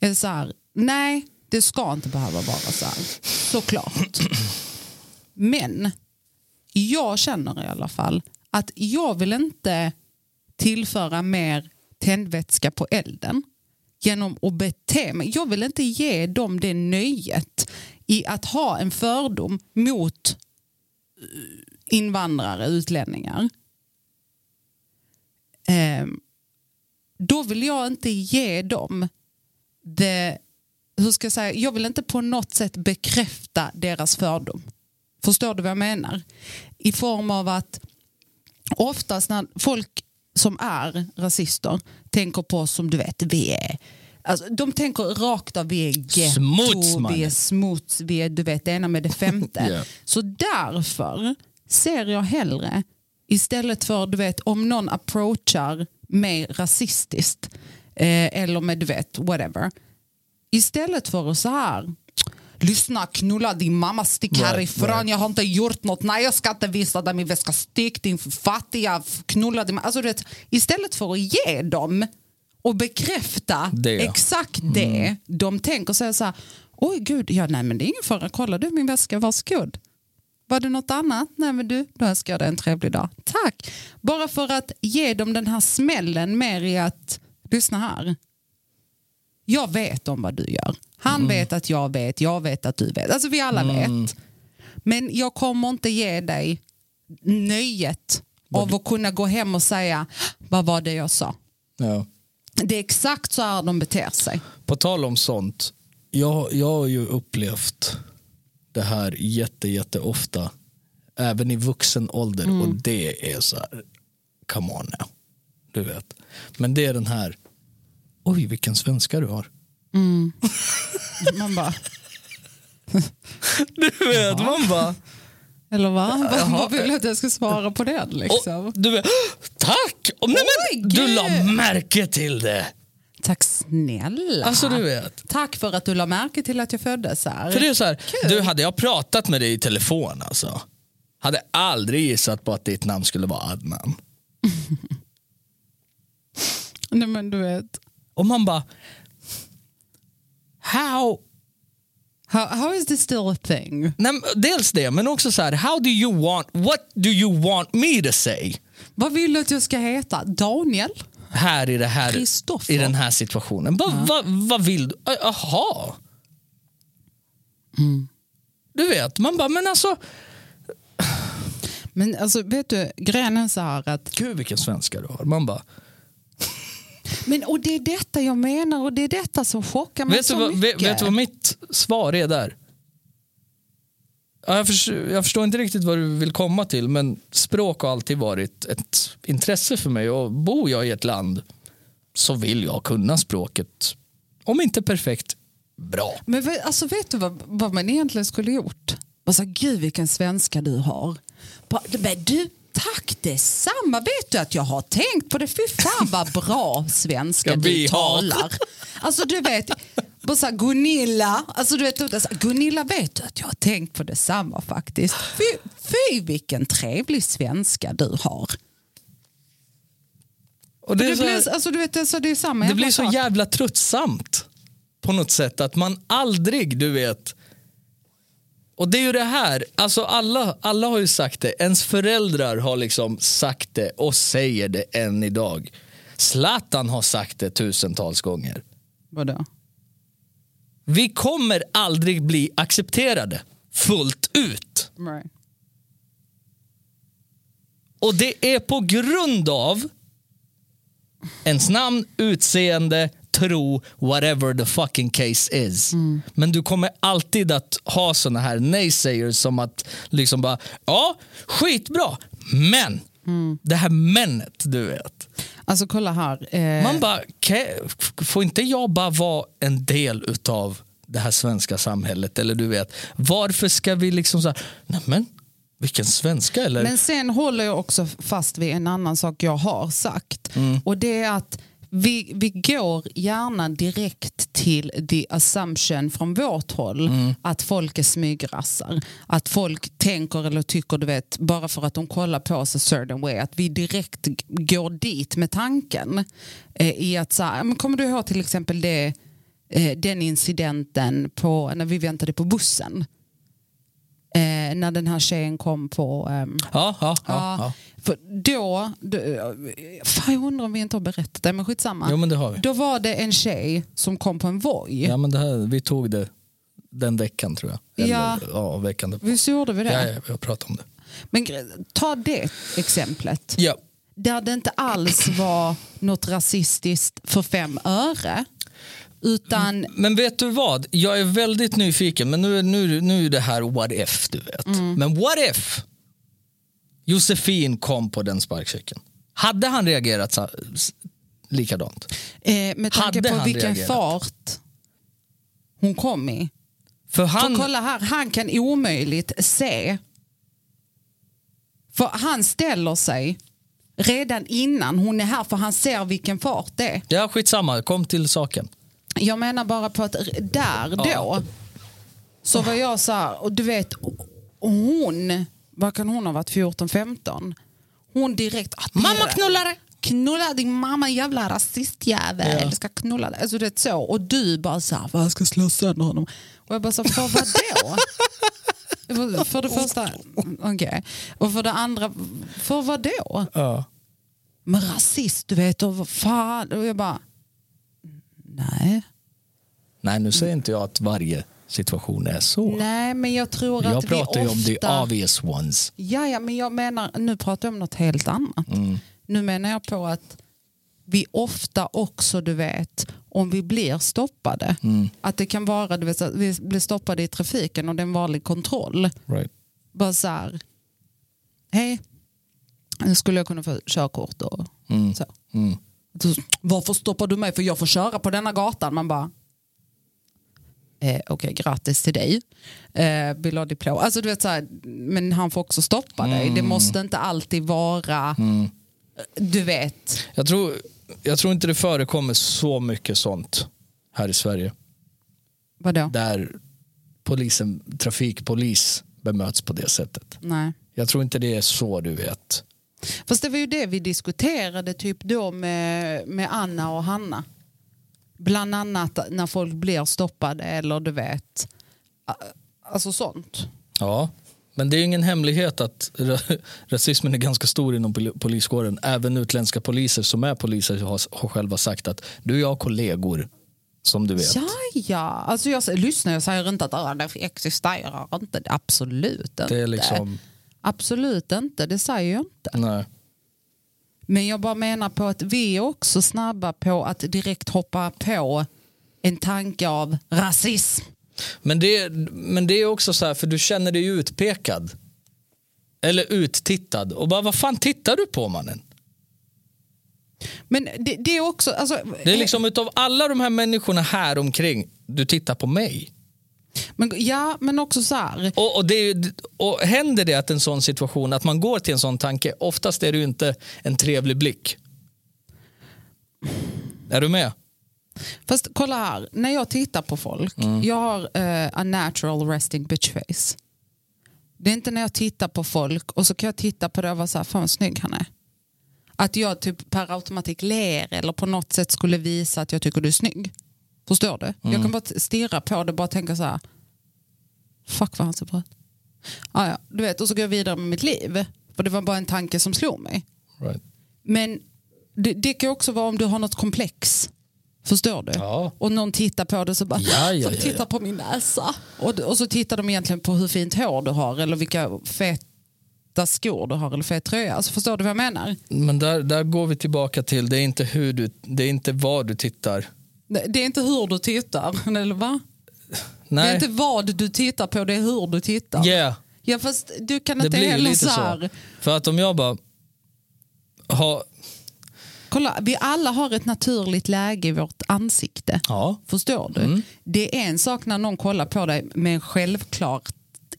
B: är så här. Nej, det ska inte behöva vara så här. Såklart. Men jag känner i alla fall att jag vill inte tillföra mer tändvätska på elden genom att bete mig. Jag vill inte ge dem det nöjet i att ha en fördom mot eh, invandrare, utlänningar. Ehm, då vill jag inte ge dem det, hur ska jag säga, jag vill inte på något sätt bekräfta deras fördom. Förstår du vad jag menar? I form av att oftast när folk som är rasister tänker på oss som du vet, vi är Alltså, de tänker rakt av, vi är
A: Smuts,
B: getto,
A: mannen.
B: vi är smuts, vi är du vet det ena med det femte.
A: [LAUGHS] Ja.
B: Så därför ser jag hellre, istället för du vet om någon approachar mig rasistiskt eh, eller med du vet whatever. Istället för att så här, lyssna knulla din mamma, stick
A: Nej,
B: härifrån,
A: nej.
B: jag har inte gjort något, nej jag ska inte visa dig min väska, stick din fattiga, knulla din mamma. Alltså, du vet, istället för att ge dem och bekräfta
A: Det.
B: exakt det de tänker, säga så här, oj gud, ja nej men det är ingen fara, kolla du min väska, varsågod. Var det något annat? Nej men du, då önskar jag dig en trevlig dag. Tack! Bara för att ge dem den här smällen mer i att, lyssna här, jag vet om vad du gör. Han vet att jag vet, jag vet att du vet. Alltså vi alla vet. Men jag kommer inte ge dig nöjet av att kunna gå hem och säga, vad var det jag sa?
A: Ja.
B: Det är exakt så här de beter sig.
A: På tal om sånt. Jag, jag har ju upplevt det här jätte, jätte ofta. Även i vuxen ålder. Och det är så här, come on now. Du vet. Men det är den här, oj vilken svenska du har.
B: Man bara,
A: Du vet, man bara,
B: eller vad? Vad- Vad vill du att jag ska svara på det? Liksom?
A: och, du vet, [GASPS] tack! Och, nej, men,
B: Oj,
A: du
B: gud.
A: la märke till det.
B: Tack snälla.
A: Alltså du vet.
B: Tack för att du la märke till att jag föddes här.
A: För det är så här, du hade jag pratat med dig i telefon alltså. Hade aldrig gissat på att ditt namn skulle vara Adnan.
B: Nej, men du vet.
A: Och man bara, how?
B: How, how is this still a thing?
A: Nej, men dels det, men också så här, how do you want, what do you want me to say?
B: Vad vill du att jag ska heta? Daniel?
A: Här i, det här,
B: Kristoffer.
A: i den här situationen. Bara, Vad vad vill du? Ö, Jaha. Mm. Du vet, man bara, men alltså,
B: Men alltså, vet du, grejen är så här att...
A: gud vilken svenska du har. Man bara,
B: Men, och det är detta jag menar och det är detta som chockar mig
A: Vet du,
B: så
A: vad, vet,
B: mycket.
A: vet du vad mitt svar är där? Ja, jag, förstår, jag förstår inte riktigt vad du vill komma till men språk har alltid varit ett intresse för mig och bor jag i ett land så vill jag kunna språket. Om inte perfekt, bra.
B: Men vet, alltså, vet du vad, vad man egentligen skulle gjort? Man sa, gud vilken svenska du har. Bara, Men du, tack detsamma. Vet du att jag har tänkt på det? Fy fan vad bra svenska
A: Ska vi
B: du
A: ha?
B: talar. Alltså du vet, bara så här, Gunilla. Alltså, du vet, alltså, Gunilla vet du att jag har tänkt på detsamma faktiskt. Fy, fy vilken trevlig svenska du har.
A: Och det, är
B: Det
A: så här-
B: blir, alltså, du vet, alltså, det är samma
A: det
B: jävla
A: blir så
B: sak.
A: jävla tröttsamt på något sätt att man aldrig, du vet. Och det är ju det här, alltså alla, alla har ju sagt det, ens föräldrar har liksom sagt det och säger det än idag. Zlatan har sagt det tusentals gånger.
B: Vadå?
A: Vi kommer aldrig bli accepterade fullt ut.
B: Right.
A: Och det är på grund av ens namn, utseende, tro, whatever the fucking case is.
B: Mm.
A: Men du kommer alltid att ha såna här naysayers som att liksom bara, ja, skitbra, men.
B: Mm.
A: Det här menet, du vet.
B: Alltså kolla här. Eh,
A: Man bara, "Ke- f- får inte jag bara vara en del utav det här svenska samhället? Eller du vet, varför ska vi liksom så här, nej men, vilken svenska eller?
B: Men sen håller jag också fast vid en annan sak jag har sagt. Och det är att vi, vi går gärna direkt till the assumption från vårt håll att folk är smygrassar. Att folk tänker eller tycker, du vet, bara för att de kollar på oss a certain way. Att vi direkt g- går dit med tanken. Eh, i att så här, men Kommer du ihåg till exempel det, eh, den incidenten på, när vi väntade på bussen? Eh, när den här tjejen kom på... ehm,
A: Ja, ja, ja,
B: Ja,
A: ja.
B: För då, då, fan jag undrar om vi inte har berättat det, men skitsamma.
A: Jo men det har vi.
B: Då var det en tjej som kom på en Voi.
A: Ja, men det här, vi tog det den veckan tror jag.
B: Ja.
A: Eller, ja veckan. därpå.
B: Visst gjorde vi det?
A: Ja, ja, vi har pratat om det.
B: Men gre- ta det exemplet.
A: Ja.
B: Där det inte alls var något rasistiskt för fem öre. Utan,
A: Men vet du vad? Jag är väldigt nyfiken, men nu, nu, nu är det här what if, du vet.
B: Mm.
A: Men what if Josefin kom på den sparkcykeln? Hade han reagerat så, s- likadant?
B: eh, med tanke
A: Hade
B: på
A: han
B: vilken
A: reagerat?
B: fart hon kom i.
A: För han...
B: För kolla här, han kan omöjligt se. För han ställer sig redan innan hon är här för han ser vilken fart det är.
A: Ja, skitsamma. Kom till saken.
B: Jag menar bara på att r- där då
A: Ja.
B: så var jag så här, och du vet hon, vad kan hon ha varit, 14-15? Hon direkt, att
A: Mamma knullare!
B: Knulla din mamma jävla rasistjävel.
A: Ja.
B: Du ska knulla dig. Alltså, du vet så. Och du bara så här, "Vad, jag ska slå sönder honom. Och jag bara så här, för vadå? Jag bara, för det första, okej. Och för det andra, för vadå?
A: Ja.
B: Men rasist du vet och vad fan. Och jag bara, nej.
A: Nej, nu säger inte jag att varje situation är så.
B: Nej men jag tror att
A: jag
B: vi
A: pratar ju om the
B: ofta...
A: obvious ones.
B: Ja, ja, men jag menar, nu pratar jag om något helt annat.
A: Mm.
B: Nu menar jag på att vi ofta också, du vet, om vi blir stoppade.
A: Mm.
B: Att det kan vara, du vet, så att vi blir stoppade i trafiken och det är en vanlig kontroll.
A: Right.
B: Bara så här, hej, nu skulle jag kunna få körkort och så. så. Varför stoppar du mig för jag får köra på denna gatan? Man bara, eh, okej grattis till dig, eh, vill du ha diplom? Alltså du vet så här, men han får också stoppa dig. Det måste inte alltid vara, du vet.
A: Jag tror, jag tror inte det förekommer så mycket sånt här i Sverige.
B: Vadå?
A: Där polisen, trafikpolis bemöts på det sättet.
B: Nej.
A: Jag tror inte det är så du vet.
B: Fast det var ju det vi diskuterade typ då med, med Anna och Hanna. Bland annat när folk blir stoppade eller du vet. a- Alltså sånt.
A: Ja, men det är ju ingen hemlighet att ra- [LAUGHS] rasismen är ganska stor inom pol- poliskåren. Även utländska poliser som är poliser har, har själva sagt att du och jag har kollegor som du vet.
B: Ja, ja. Alltså jag, s- lyssna, jag säger inte att "Ah, det existerar inte. Det- Absolut inte.
A: Det är liksom,
B: Absolut inte, det säger jag inte.
A: nej.
B: Men jag bara menar på att vi är också snabba på att direkt hoppa på en tanke av rasism.
A: Men det, men det är också så här, för du känner dig ju utpekad. Eller uttittad. Och bara, vad fan tittar du på mannen?
B: Men det, det är också... Alltså,
A: Det är liksom utav alla de här människorna här omkring, du tittar på mig.
B: men, ja, men också så här.
A: Och, och, det är, ju- och händer det att en sån situation, att man går till en sån tanke, oftast är det ju inte en trevlig blick. Är du med?
B: Fast kolla här, när jag tittar på folk, jag har eh, a natural resting bitch face. Det är inte när jag tittar på folk och så kan jag titta på det och vara så här, fan vad snygg han är. Att jag typ per automatik ler eller på något sätt skulle visa att jag tycker du är snygg. Förstår du? Jag kan bara t- stirra på det och bara tänka så här, fuck vad han ser bra ut. Ah, ja, du vet, och så går jag vidare med mitt liv. För det var bara en tanke som slog mig. Men det, det kan ju också vara om du har något komplex. Förstår du?
A: Ja.
B: Och någon tittar på det så bara,
A: Ja, ja,
B: "Får du
A: ja,
B: titta
A: ja."
B: på min näsa. Och, och så tittar de egentligen på hur fint hår du har eller vilka feta skor du har eller fet tröja. Alltså, förstår du vad jag menar?
A: Men där, där går vi tillbaka till, det är inte hur du, det är inte vad du tittar.
B: Det det är inte hur du tittar, [LAUGHS] eller va? Det är
A: Nej,
B: inte vad du tittar på, det är hur du tittar.
A: yeah,
B: Ja fast du kan
A: det
B: inte
A: blir
B: heller
A: lite
B: så
A: så.
B: här.
A: För att om jag bara, ha,
B: Kolla, vi alla har ett naturligt läge i vårt ansikte.
A: ja,
B: Förstår du?
A: Mm.
B: Det är en sak när någon kollar på dig med en självklar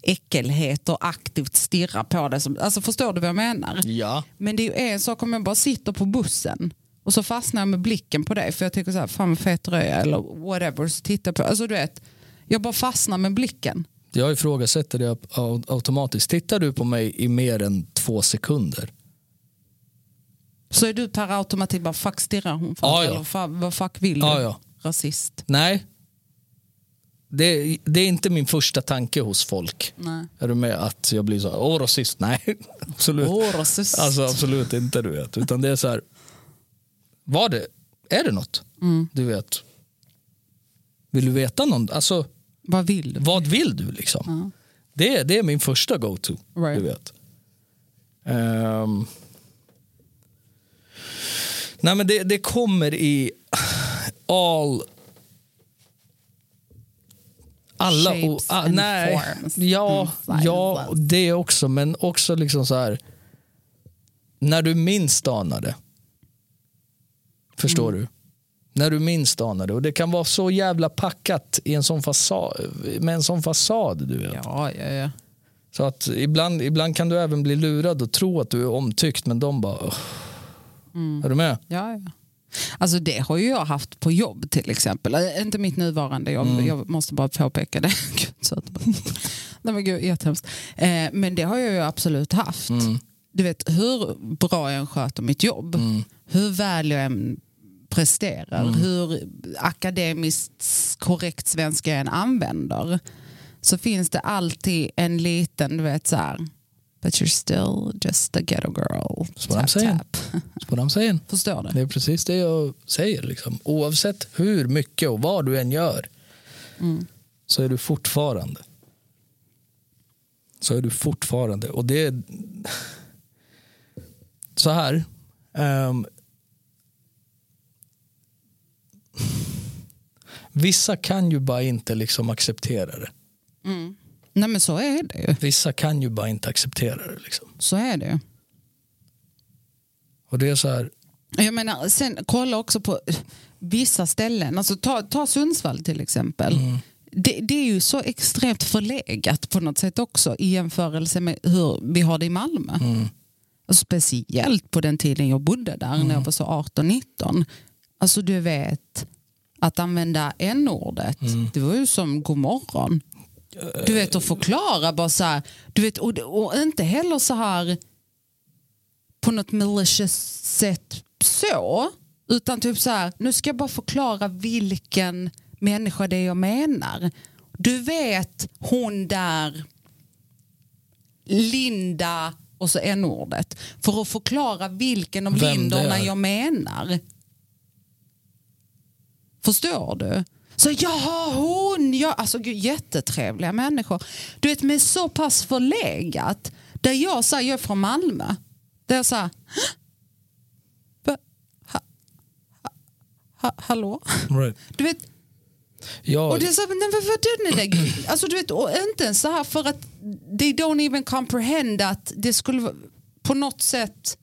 B: äckelhet och aktivt stirrar på dig. Som, alltså förstår du vad jag menar?
A: ja,
B: Men det är ju en sak om jag bara sitter på bussen och så fastnar jag med blicken på dig för jag tycker så här, fan vad fet röja eller whatever. Så tittar jag på, alltså du vet, jag bara fastnar med blicken.
A: jag ifrågasätter det au- automatiskt. Tittar du på mig i mer än två sekunder,
B: Så är du per automatik bara fuck stirrar hon för
A: Ja, ja.
B: eller fan, vad fuck vill du?
A: Ja, ja.
B: Rasist.
A: nej, det, det är inte min första tanke hos folk.
B: Nej.
A: Är du med att jag blir så här, åh rasist, nej, [LAUGHS] absolut.
B: Åh, rasist.
A: Alltså absolut inte du vet. Utan det är så här, var det, är det något?
B: Mm.
A: Du vet. Vill du veta någon, alltså
B: Vad vill du?
A: vad vill du liksom? Det, är- det är min första go-to.
B: Right.
A: Du vet. Ehm. nej men det, det kommer i all alla
B: Shapes
A: och, ah,
B: and
A: nej,
B: forms Mm,
A: Ja,
B: and
A: ja,
B: sizes.
A: det också. Men också liksom så här. När du minst anar det.
B: Mm.
A: Förstår du? När du minst anar det. Och det kan vara så jävla packat i en sån fasad, med en sån fasad. Du vet.
B: Ja, ja, ja.
A: Så att ibland, ibland kan du även bli lurad och tro att du är omtyckt men de bara... "Ugh." Är du med?
B: Ja, ja. Alltså det har ju jag haft på jobb till exempel. Äh, Inte mitt nuvarande jobb,
A: Mm.
B: jag måste bara påpeka det. [LAUGHS] Gud, så att, nej men gud, jättehemskt. Eh, men det har jag ju absolut haft.
A: Mm.
B: Du vet hur bra jag än sköter mitt jobb,
A: Mm.
B: hur väl jag än presterar, hur akademiskt korrekt svenska jag än använder, så finns det alltid en liten, du vet så här, but you're still just a ghetto girl.
A: That's what I'm saying. That's what I'm saying.
B: Förstår du?
A: Det är precis det jag säger. Liksom. Oavsett hur mycket och vad du än gör så är du fortfarande. Så är du fortfarande. Och det är [LAUGHS] så här. ehm, [LAUGHS] vissa kan ju bara inte liksom acceptera det.
B: Nej men så är det ju.
A: Vissa kan ju bara inte acceptera det. Liksom.
B: Så är det ju.
A: Och det är så här.
B: Jag menar, sen kolla också på vissa ställen. Alltså, ta, ta Sundsvall till exempel. Det, det är ju så extremt förlegat på något sätt också i jämförelse med hur vi har det i Malmö. Och speciellt på den tiden jag bodde där när jag var så 18-19. Alltså du vet, att använda n-ordet, det var ju som god morgon. Du vet att förklara bara så här, du vet, och, och inte heller så här på något malicious sätt så. Utan typ så här, nu ska jag bara förklara vilken människa det är jag menar. Du vet hon där, Linda och så n-ordet. För att förklara vilken av
A: Vem det
B: Lindorna
A: är.
B: jag menar. Förstår du? Så jaha hon, ja, alltså gud, jättetrevliga människor. Du vet men så pass förlegat. Där jag säger, jag är från Malmö. Där jag säger, ha, ha, hallå? Du vet,
A: Ja,
B: och det är så, men vad vad är det där? Alltså du vet, och inte ens så här för att they don't even comprehend att det skulle vara- på något sätt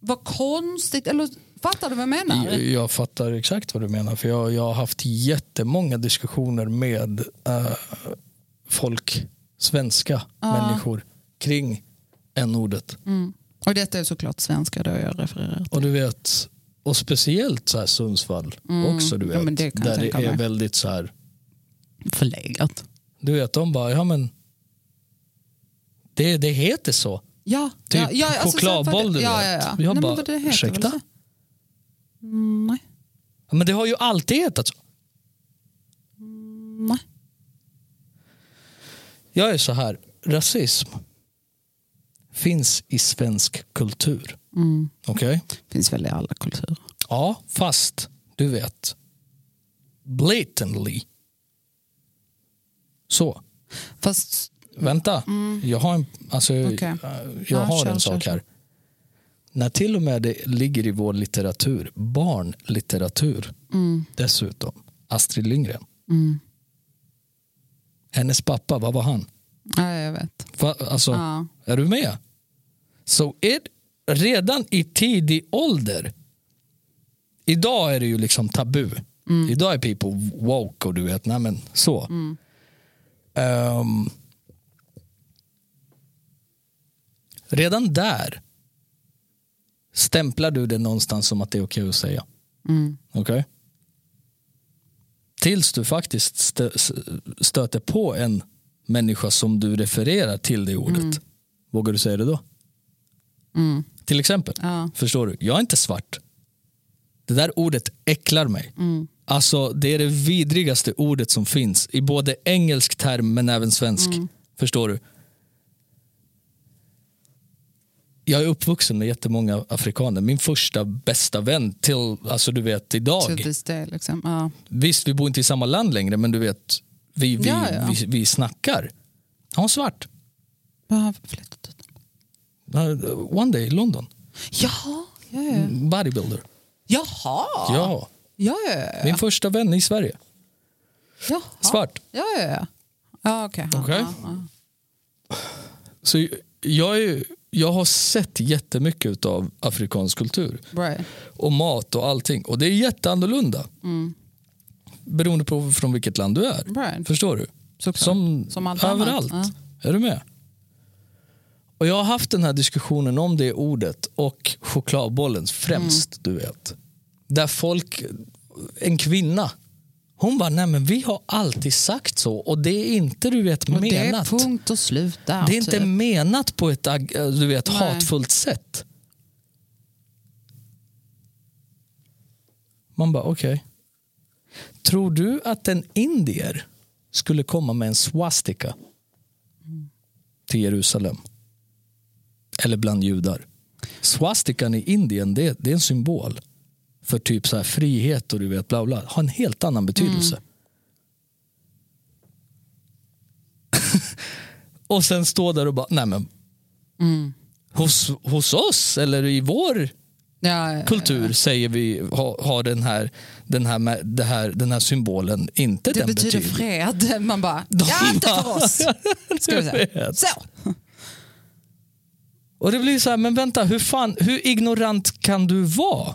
B: vara konstigt. Eller fattar du vad jag menar?
A: Jag fattar exakt vad du menar. För Jag, jag har haft jättemånga diskussioner med eh, folk, svenska människor, kring en ordet
B: Mm. Och detta är såklart svenska då jag refererar
A: Och du vet, och speciellt så här Sundsvall också, du vet,
B: Mm. Ja, men det kan jag
A: där det
B: tänka
A: är
B: mig.
A: väldigt så här,
B: Förlegat.
A: du vet, de bara, ja men det, det heter så.
B: Ja,
A: Typ
B: ja, ja, alltså,
A: chokladboll, du
B: ja, ja,
A: vet.
B: ja.
A: Jag
B: Nej,
A: bara,
B: men vad det heter,
A: ursäkta?
B: väl så? Mm, nej,
A: Ja, Men det har ju alltid hetat så.
B: nej.
A: Jag är så här, rasism finns i svensk kultur. Okej?
B: finns väl i alla kulturer.
A: Ja, fast du vet, blatantly. Så,
B: Fast
A: vänta. Jag har en, alltså,
B: Mm. Okej.
A: eh, jag
B: Ja,
A: har
B: kör,
A: en
B: kör,
A: sak
B: kör.
A: här. När till och med det ligger i vår litteratur, barnlitteratur
B: Mm.
A: dessutom, Astrid Lindgren. Hennes pappa, vad var han?
B: Ja, jag vet.
A: Va, alltså,
B: Ja.
A: Är du med? Så är, redan i tidig ålder. Idag är det ju liksom tabu.
B: Mm.
A: Idag är people woke och du vet, nej men så. Ehm, redan där stämplar du det någonstans som att det är okej att säga.
B: Mm.
A: Okej? Tills du faktiskt stö- s- stöter på en människa som du refererar till det ordet. Vågar du säga det då?
B: Mm.
A: Till exempel.
B: Ja.
A: Förstår du? Jag är inte svart. Det där ordet äcklar mig.
B: Mm.
A: Alltså det är det vidrigaste ordet som finns i både engelsk term men även svensk.
B: Mm.
A: Förstår du? Jag är uppvuxen med jättemånga afrikaner. Min första bästa vän till, alltså du vet idag.
B: To this day, liksom. Ja.
A: Visst, vi bor inte i samma land längre, men du vet, vi, vi,
B: Ja, ja.
A: vi, vi snackar. Han var svart.
B: Vad har han flyttat ut?
A: Uh, One day, London.
B: Jaha. Ja, ja.
A: Bodybuilder.
B: Jaha.
A: Mm. Ja.
B: Ja, ja, ja.
A: Min första vän i Sverige.
B: Jaha.
A: Svart.
B: Ja, ja, ja. Ja, okej. Ja,
A: Okej.
B: ja, ja.
A: Så jag, är, ju- jag har sett jättemycket av afrikansk kultur.
B: Right.
A: Och mat och allting. Och det är jätteannorlunda. Beroende på från vilket land du är.
B: Mm. Right.
A: Förstår du?
B: Såklart.
A: Som,
B: Som allt
A: överallt.
B: annat,
A: Är du med? Och Jag har haft den här diskussionen om det ordet och chokladbollen främst.
B: Mm.
A: du vet. Där folk, en kvinna, hon bara, nej men vi har alltid sagt så och det är inte du vet
B: Och
A: menat.
B: Det är punkt och slut där.
A: Det är inte
B: typ.
A: menat på ett ag- äh, du vet,
B: Nej.
A: hatfullt sätt. Man bara, okej. Tror du att en indier skulle komma med en swastika till Jerusalem? Eller bland judar? Swastikan i Indien det, det är en symbol för typ så här frihet och du vet bla bla. Har en helt annan betydelse.
B: Mm.
A: och sen stå där och bara, nej men
B: Mm.
A: hos, hos oss eller i vår
B: Ja, ja, ja.
A: kultur säger vi har ha den, här, den, här, med- det här, den här symbolen inte
B: Det
A: den [LAUGHS]
B: betyder fred. [LAUGHS] Man bara, ja, inte för oss. Ska vi säga. Så.
A: Och det blir så här, men vänta, hur, fan, hur ignorant kan du vara?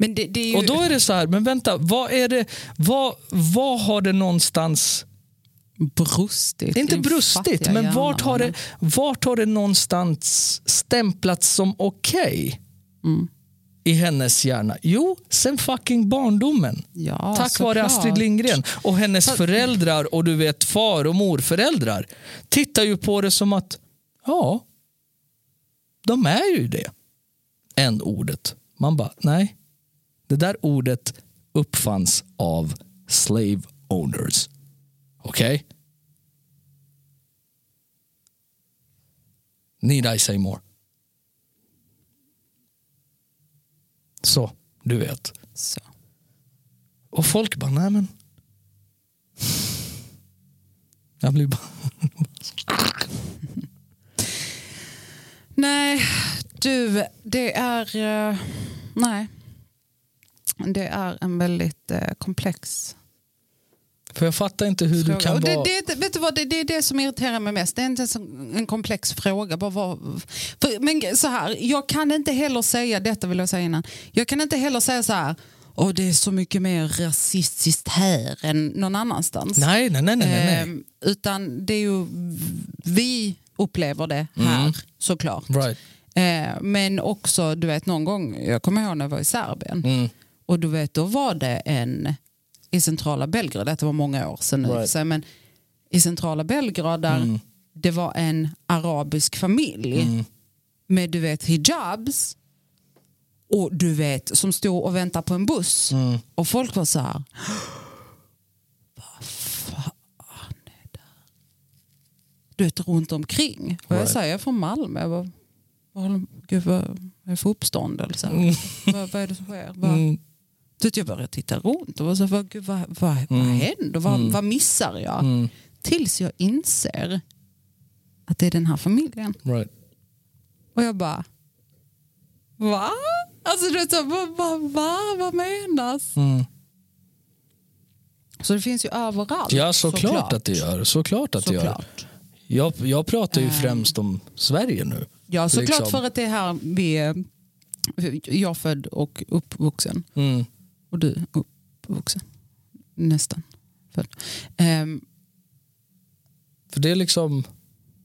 B: Men det, det är ju...
A: Och då är det så här, men vänta, vad är det, vad, vad har det någonstans,
B: brustigt.
A: inte
B: i din
A: brustit,
B: fattiga
A: men
B: hjärna,
A: vart har, det,
B: men-
A: vart har det någonstans stämplats som okej
B: Mm.
A: i hennes hjärna? Jo, sen fucking barndomen.
B: Ja,
A: Tack vare
B: såklart.
A: Astrid Lindgren och hennes föräldrar och du vet far och morföräldrar tittar ju på det som att ja, de är ju det. En ordet. Man bara nej, det där ordet uppfanns av slave owners. Okej? Need I say more? Så, du vet.
B: Så.
A: Och folk bara, nej men. Jag blir bara,
B: Nej, du, det är... eh, nej. Det är en väldigt eh, komplex
A: för jag fattar inte hur
B: fråga.
A: du kan
B: Och det,
A: vara.
B: det, det, vet du vad, det, det är det som irriterar mig mest. Det är inte ens en, en komplex fråga. Bara vad, för, men så här, jag kan inte heller säga, detta vill jag säga innan, jag kan inte heller säga så här, och det är så mycket mer rasistiskt här än någon annanstans.
A: Nej, nej, nej, nej, nej. nej.
B: Ehm, utan det är ju, vi upplever det här såklart.
A: Mm. Right.
B: Eh, men också, du vet någon gång, jag kommer ihåg när jag var i Serbien
A: Mm.
B: och du vet då var det en i centrala Belgrad, detta var många år sedan nu, i och för
A: Right. Mm.
B: sig, men i centrala Belgrad där det var en arabisk familj med du vet hijabs och du vet som stod och väntade på en buss
A: Mm.
B: och folk var så här du vet, runt omkring. Och jag
A: Right.
B: säger, jag är från Malmö. Jag bara, vad håller- Gud, vad vad är för uppståndelse?
A: Mm.
B: Vad, vad är det som sker? Vad,
A: Mm.
B: Så att Typ, jag började titta runt och var så, här, vad, gud, vad, vad, vad
A: Mm.
B: händer? Vad,
A: Mm.
B: vad missar jag?
A: Mm.
B: Tills jag inser att det är den här familjen.
A: Right.
B: Och jag bara, va? Alltså du vet, så här, vad, vad, vad, vad menas?
A: Mm.
B: Så det finns ju överallt.
A: Ja, såklart, att det gör. Såklart att det gör.
B: Såklart. Ehm.
A: Jag, jag pratar ju främst om Sverige nu.
B: Ja, såklart
A: Liksom.
B: för att det är här vi är. Jag är född och uppvuxen.
A: Mm.
B: Och du är uppvuxen. Nästan. född. Ehm,
A: För det är liksom...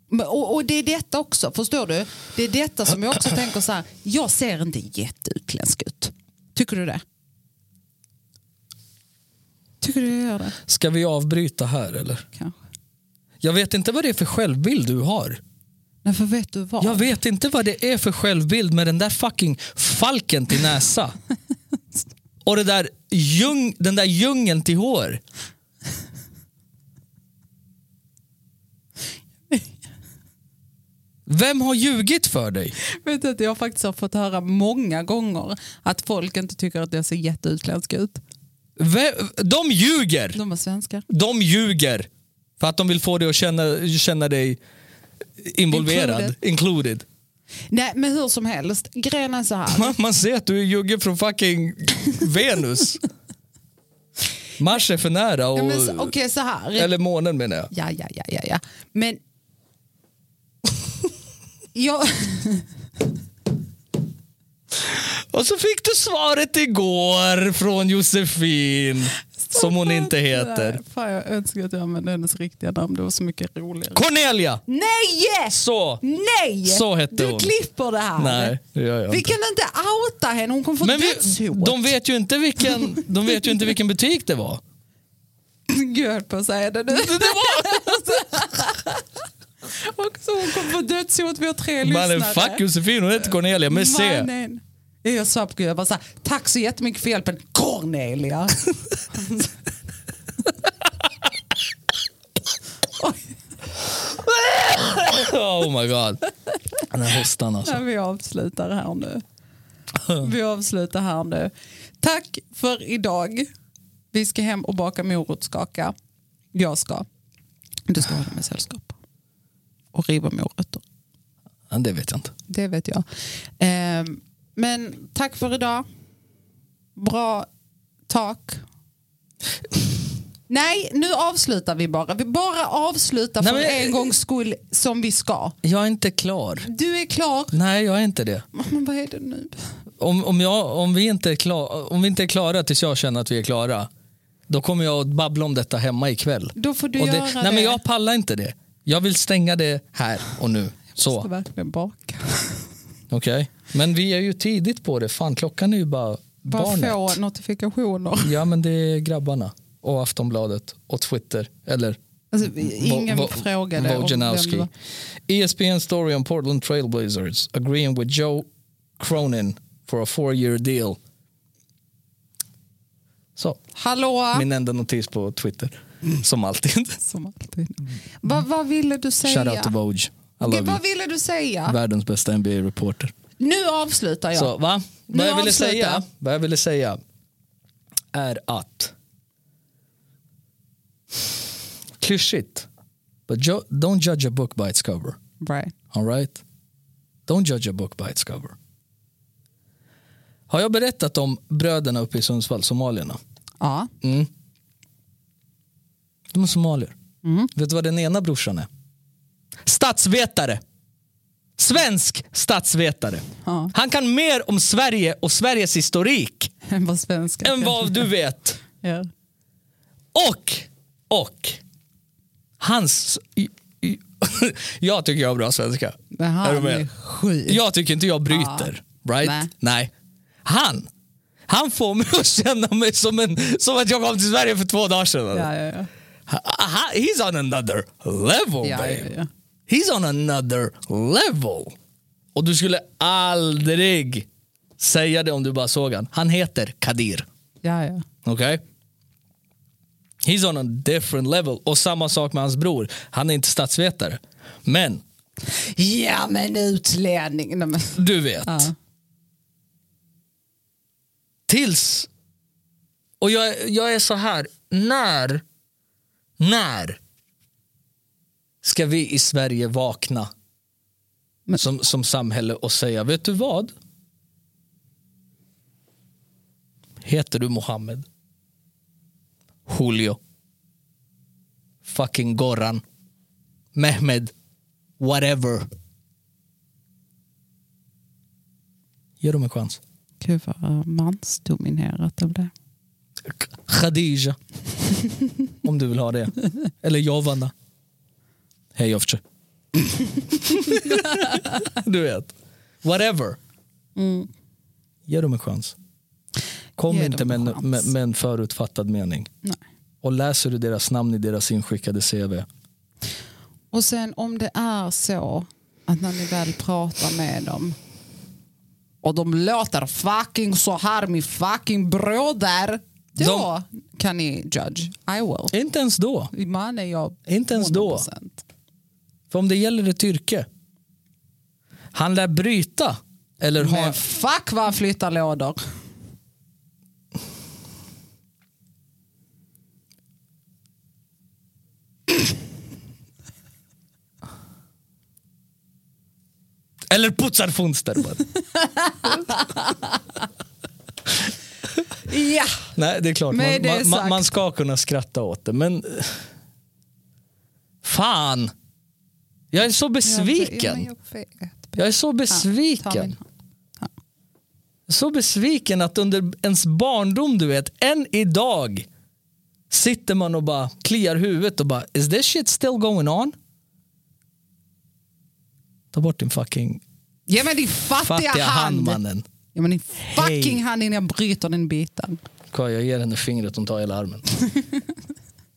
B: Men- Och, och det är detta också, förstår du? Det är detta som jag också tänker så här, jag ser inte jätteutländsk ut. Tycker du det? Tycker du jag gör det?
A: Ska vi avbryta här eller?
B: Kanske.
A: Jag vet inte vad det är för självbild du har.
B: Nej, för vet du vad?
A: Jag vet inte vad det är för självbild med den där fucking falken till näsa. Och det där ljung, den där djungeln till hår. Vem har ljugit för dig?
B: vet att jag faktiskt har fått höra många gånger att folk inte tycker att jag ser jätteutländsk ut.
A: Vem, de ljuger!
B: De är svenskar.
A: De ljuger! För att de vill få dig att känna, känna dig involverad.
B: Included.
A: Included.
B: Nej, men hur som helst, grejen är så här.
A: Man, man ser att du är jugge från fucking Venus. Mars är för nära. Och,
B: Ja, men så- Okej, så här.
A: Eller månen menar jag.
B: Ja, ja, ja, ja, ja. Men... [LAUGHS] jag...
A: Och så fick du svaret igår från Josefin. Som hon inte heter.
B: Nej, fan, jag önskar att jag använde hennes riktiga namn, det var så mycket roligare.
A: Cornelia!
B: Nej!
A: Så!
B: Nej!
A: Så hette
B: du
A: hon.
B: klipper det här.
A: Nej, det gör jag
B: Vi
A: inte.
B: kan inte outa henne, hon kommer få
A: Men vi,
B: dödshot.
A: de, vet ju inte vilken, de vet ju inte vilken butik det var.
B: Gud, jag höll på att säga det nu. [LAUGHS] Och så hon kommer få dödshot, vi har tre
A: Mannen,
B: lyssnare.
A: fuck Josefin, hon heter Cornelia med C.
B: Mannen. Ja, Jag sa på Gud, jag bara så här, tack så jättemycket för hjälpen, Cornelia. Oj,
A: [LAUGHS] Oh my god. Den här hostan alltså.
B: nej, vi avslutar här nu. Vi avslutar här nu. Tack för idag. Vi ska hem och baka morotskaka. Jag ska. Du ska hålla mig sällskap. Och riva morötter.
A: Ja, Det vet jag inte.
B: Det vet jag. Ehm, men tack för idag. Bra tak. Nej, nu avslutar vi bara. Vi bara avslutar
A: Nej,
B: för
A: men-
B: en gångs skull som vi ska.
A: Jag är inte klar.
B: Du är klar.
A: Nej, jag är inte det.
B: Men vad är det nu?
A: Om, om, jag, om, vi inte är klar, om vi inte är klara tills jag känner att vi är klara, då kommer jag att babbla om detta hemma ikväll.
B: Då får du
A: Och det,
B: göra
A: nej,
B: det.
A: men jag pallar inte det. Jag vill stänga det här och nu. Så,
B: Jag ska verkligen baka.
A: okej. Men vi är ju tidigt på det. Fan, klockan är ju bara,
B: Bara
A: barnet.
B: få notifikationer.
A: Ja, men det är grabbarna och Aftonbladet och Twitter. Eller
B: Alltså, ingen frågade om vem
A: Wojnarowski. E
B: var-
A: ESPN story on Portland Trailblazers agreeing with Joe Cronin for a four year deal. Så,
B: Hallå?
A: min enda notis på Twitter. Som alltid.
B: Som alltid. Vad- vad ville du säga?
A: Shout out to Woj. I love
B: Okej,
A: you.
B: vad ville du säga?
A: Världens bästa NBA-reporter.
B: Nu avslutar jag.
A: Så va?
B: Nu
A: Vad jag, ville
B: avsluta.
A: säga, vad jag ville säga är att klyschigt, but jo- don't judge a book by its cover.
B: Right.
A: All right? Don't judge a book by its cover. Har jag berättat om bröderna uppe i Sundsvall, somalierna?
B: Ja. [LAUGHS]
A: Mm. De är somalier. Vet du vad den ena brorsan är? Statsvetare! Svensk statsvetare.
B: Ja.
A: Han kan mer om Sverige och Sveriges historik
B: än vad svenska
A: än vad du vet.
B: gör.
A: Och, och, hans... i- i- [LAUGHS] Jag tycker jag har bra svenska.
B: Men han
A: Är du med?
B: är sjuk.
A: Jag tycker inte jag bryter. Right?
B: Nej.
A: Nej. Han, han får mig [LAUGHS] att känna mig som, en, som att jag kom till Sverige för två dagar sedan.
B: Ja, ja, ja.
A: Ha- ha- He's on another level,
B: Ja,
A: babe.
B: ja, ja.
A: He's on another level. Och du skulle aldrig säga det om du bara såg han. Han heter Kadir.
B: ja, ja.
A: Okej? He's on a different level. Och samma sak med hans bror. Han är inte statsvetare. Men
B: Ja men utlänning. Nej, men.
A: Du vet.
B: Ja.
A: Tills... Och jag, jag är så här, när... När ska vi i Sverige vakna
B: Men-
A: som, som samhälle och säga, vet du vad? Heter du Mohammed? Julio? Fucking Goran? Mehmed? Whatever. Ge dem en chans.
B: Gud vad mansdominerat det blev. [LAUGHS]
A: Khadija. Om du vill ha det. Eller Jovana. Hej
B: [LAUGHS]
A: Jovce. du vet. Whatever.
B: Mm.
A: Ge dem en chans. Kom
B: Ge dem
A: inte
B: en
A: med en,
B: chans.
A: med, med en förutfattad mening.
B: Nej.
A: Och läser du deras namn i deras inskickade CV.
B: Och sen om det är så att när ni väl pratar med dem och de låter fucking så här min fucking broder. Då kan ni judge. I will.
A: Inte ens då.
B: Man är jag
A: Inte ens då.
B: 100%.
A: För om det gäller ett yrke. Han lär bryta. Eller ha
B: Men fuck vad han flyttar lådor.
A: Eller putsar fönster bara.
B: Ja.
A: Nej, det är klart. Man,
B: Med det
A: man, man,
B: sagt.
A: man ska kunna skratta åt det, men... Fan! Jag är så besviken.
B: Jag vet.
A: Jag är så
B: Ta min
A: besviken.
B: hand.
A: Så besviken att under ens barndom, du vet, än idag sitter man och bara kliar huvudet och bara is this shit still going on? Ta bort din fucking
B: Ge mig din fattiga,
A: fattiga hand
B: hand.
A: mannen.
B: Ge mig din fucking hand innan jag bryter den biten.
A: Kaj, jag ger henne fingret, hon tar hela [LAUGHS] armen.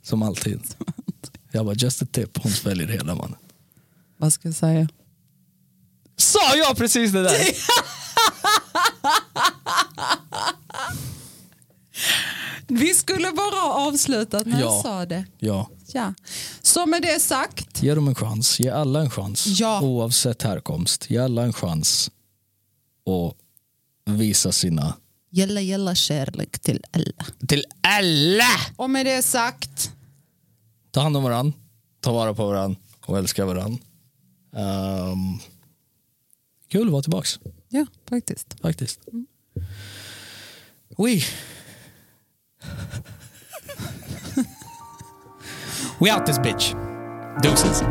A: Som alltid. Jag bara, just a tip. Hon sväljer hela mannen.
B: Vad ska jag säga?
A: Sa jag precis det där?
B: Vi skulle bara ha avslutat när jag
A: Ja.
B: sa det.
A: [LAUGHS] Ja.
B: Ja. Så med det sagt.
A: Ge dem en chans. Ge alla en chans.
B: Ja.
A: Oavsett härkomst. Ge alla en chans. Och visa sina...
B: Gälla gälla kärlek till alla.
A: Till alla!
B: Och med det sagt.
A: Ta hand om varann. Ta vara på varann. Och älska varann. Ehm, kul att vara tillbaks.
B: Ja, faktiskt.
A: faktiskt. Oui. [LAUGHS] We out this bitch. Deuces.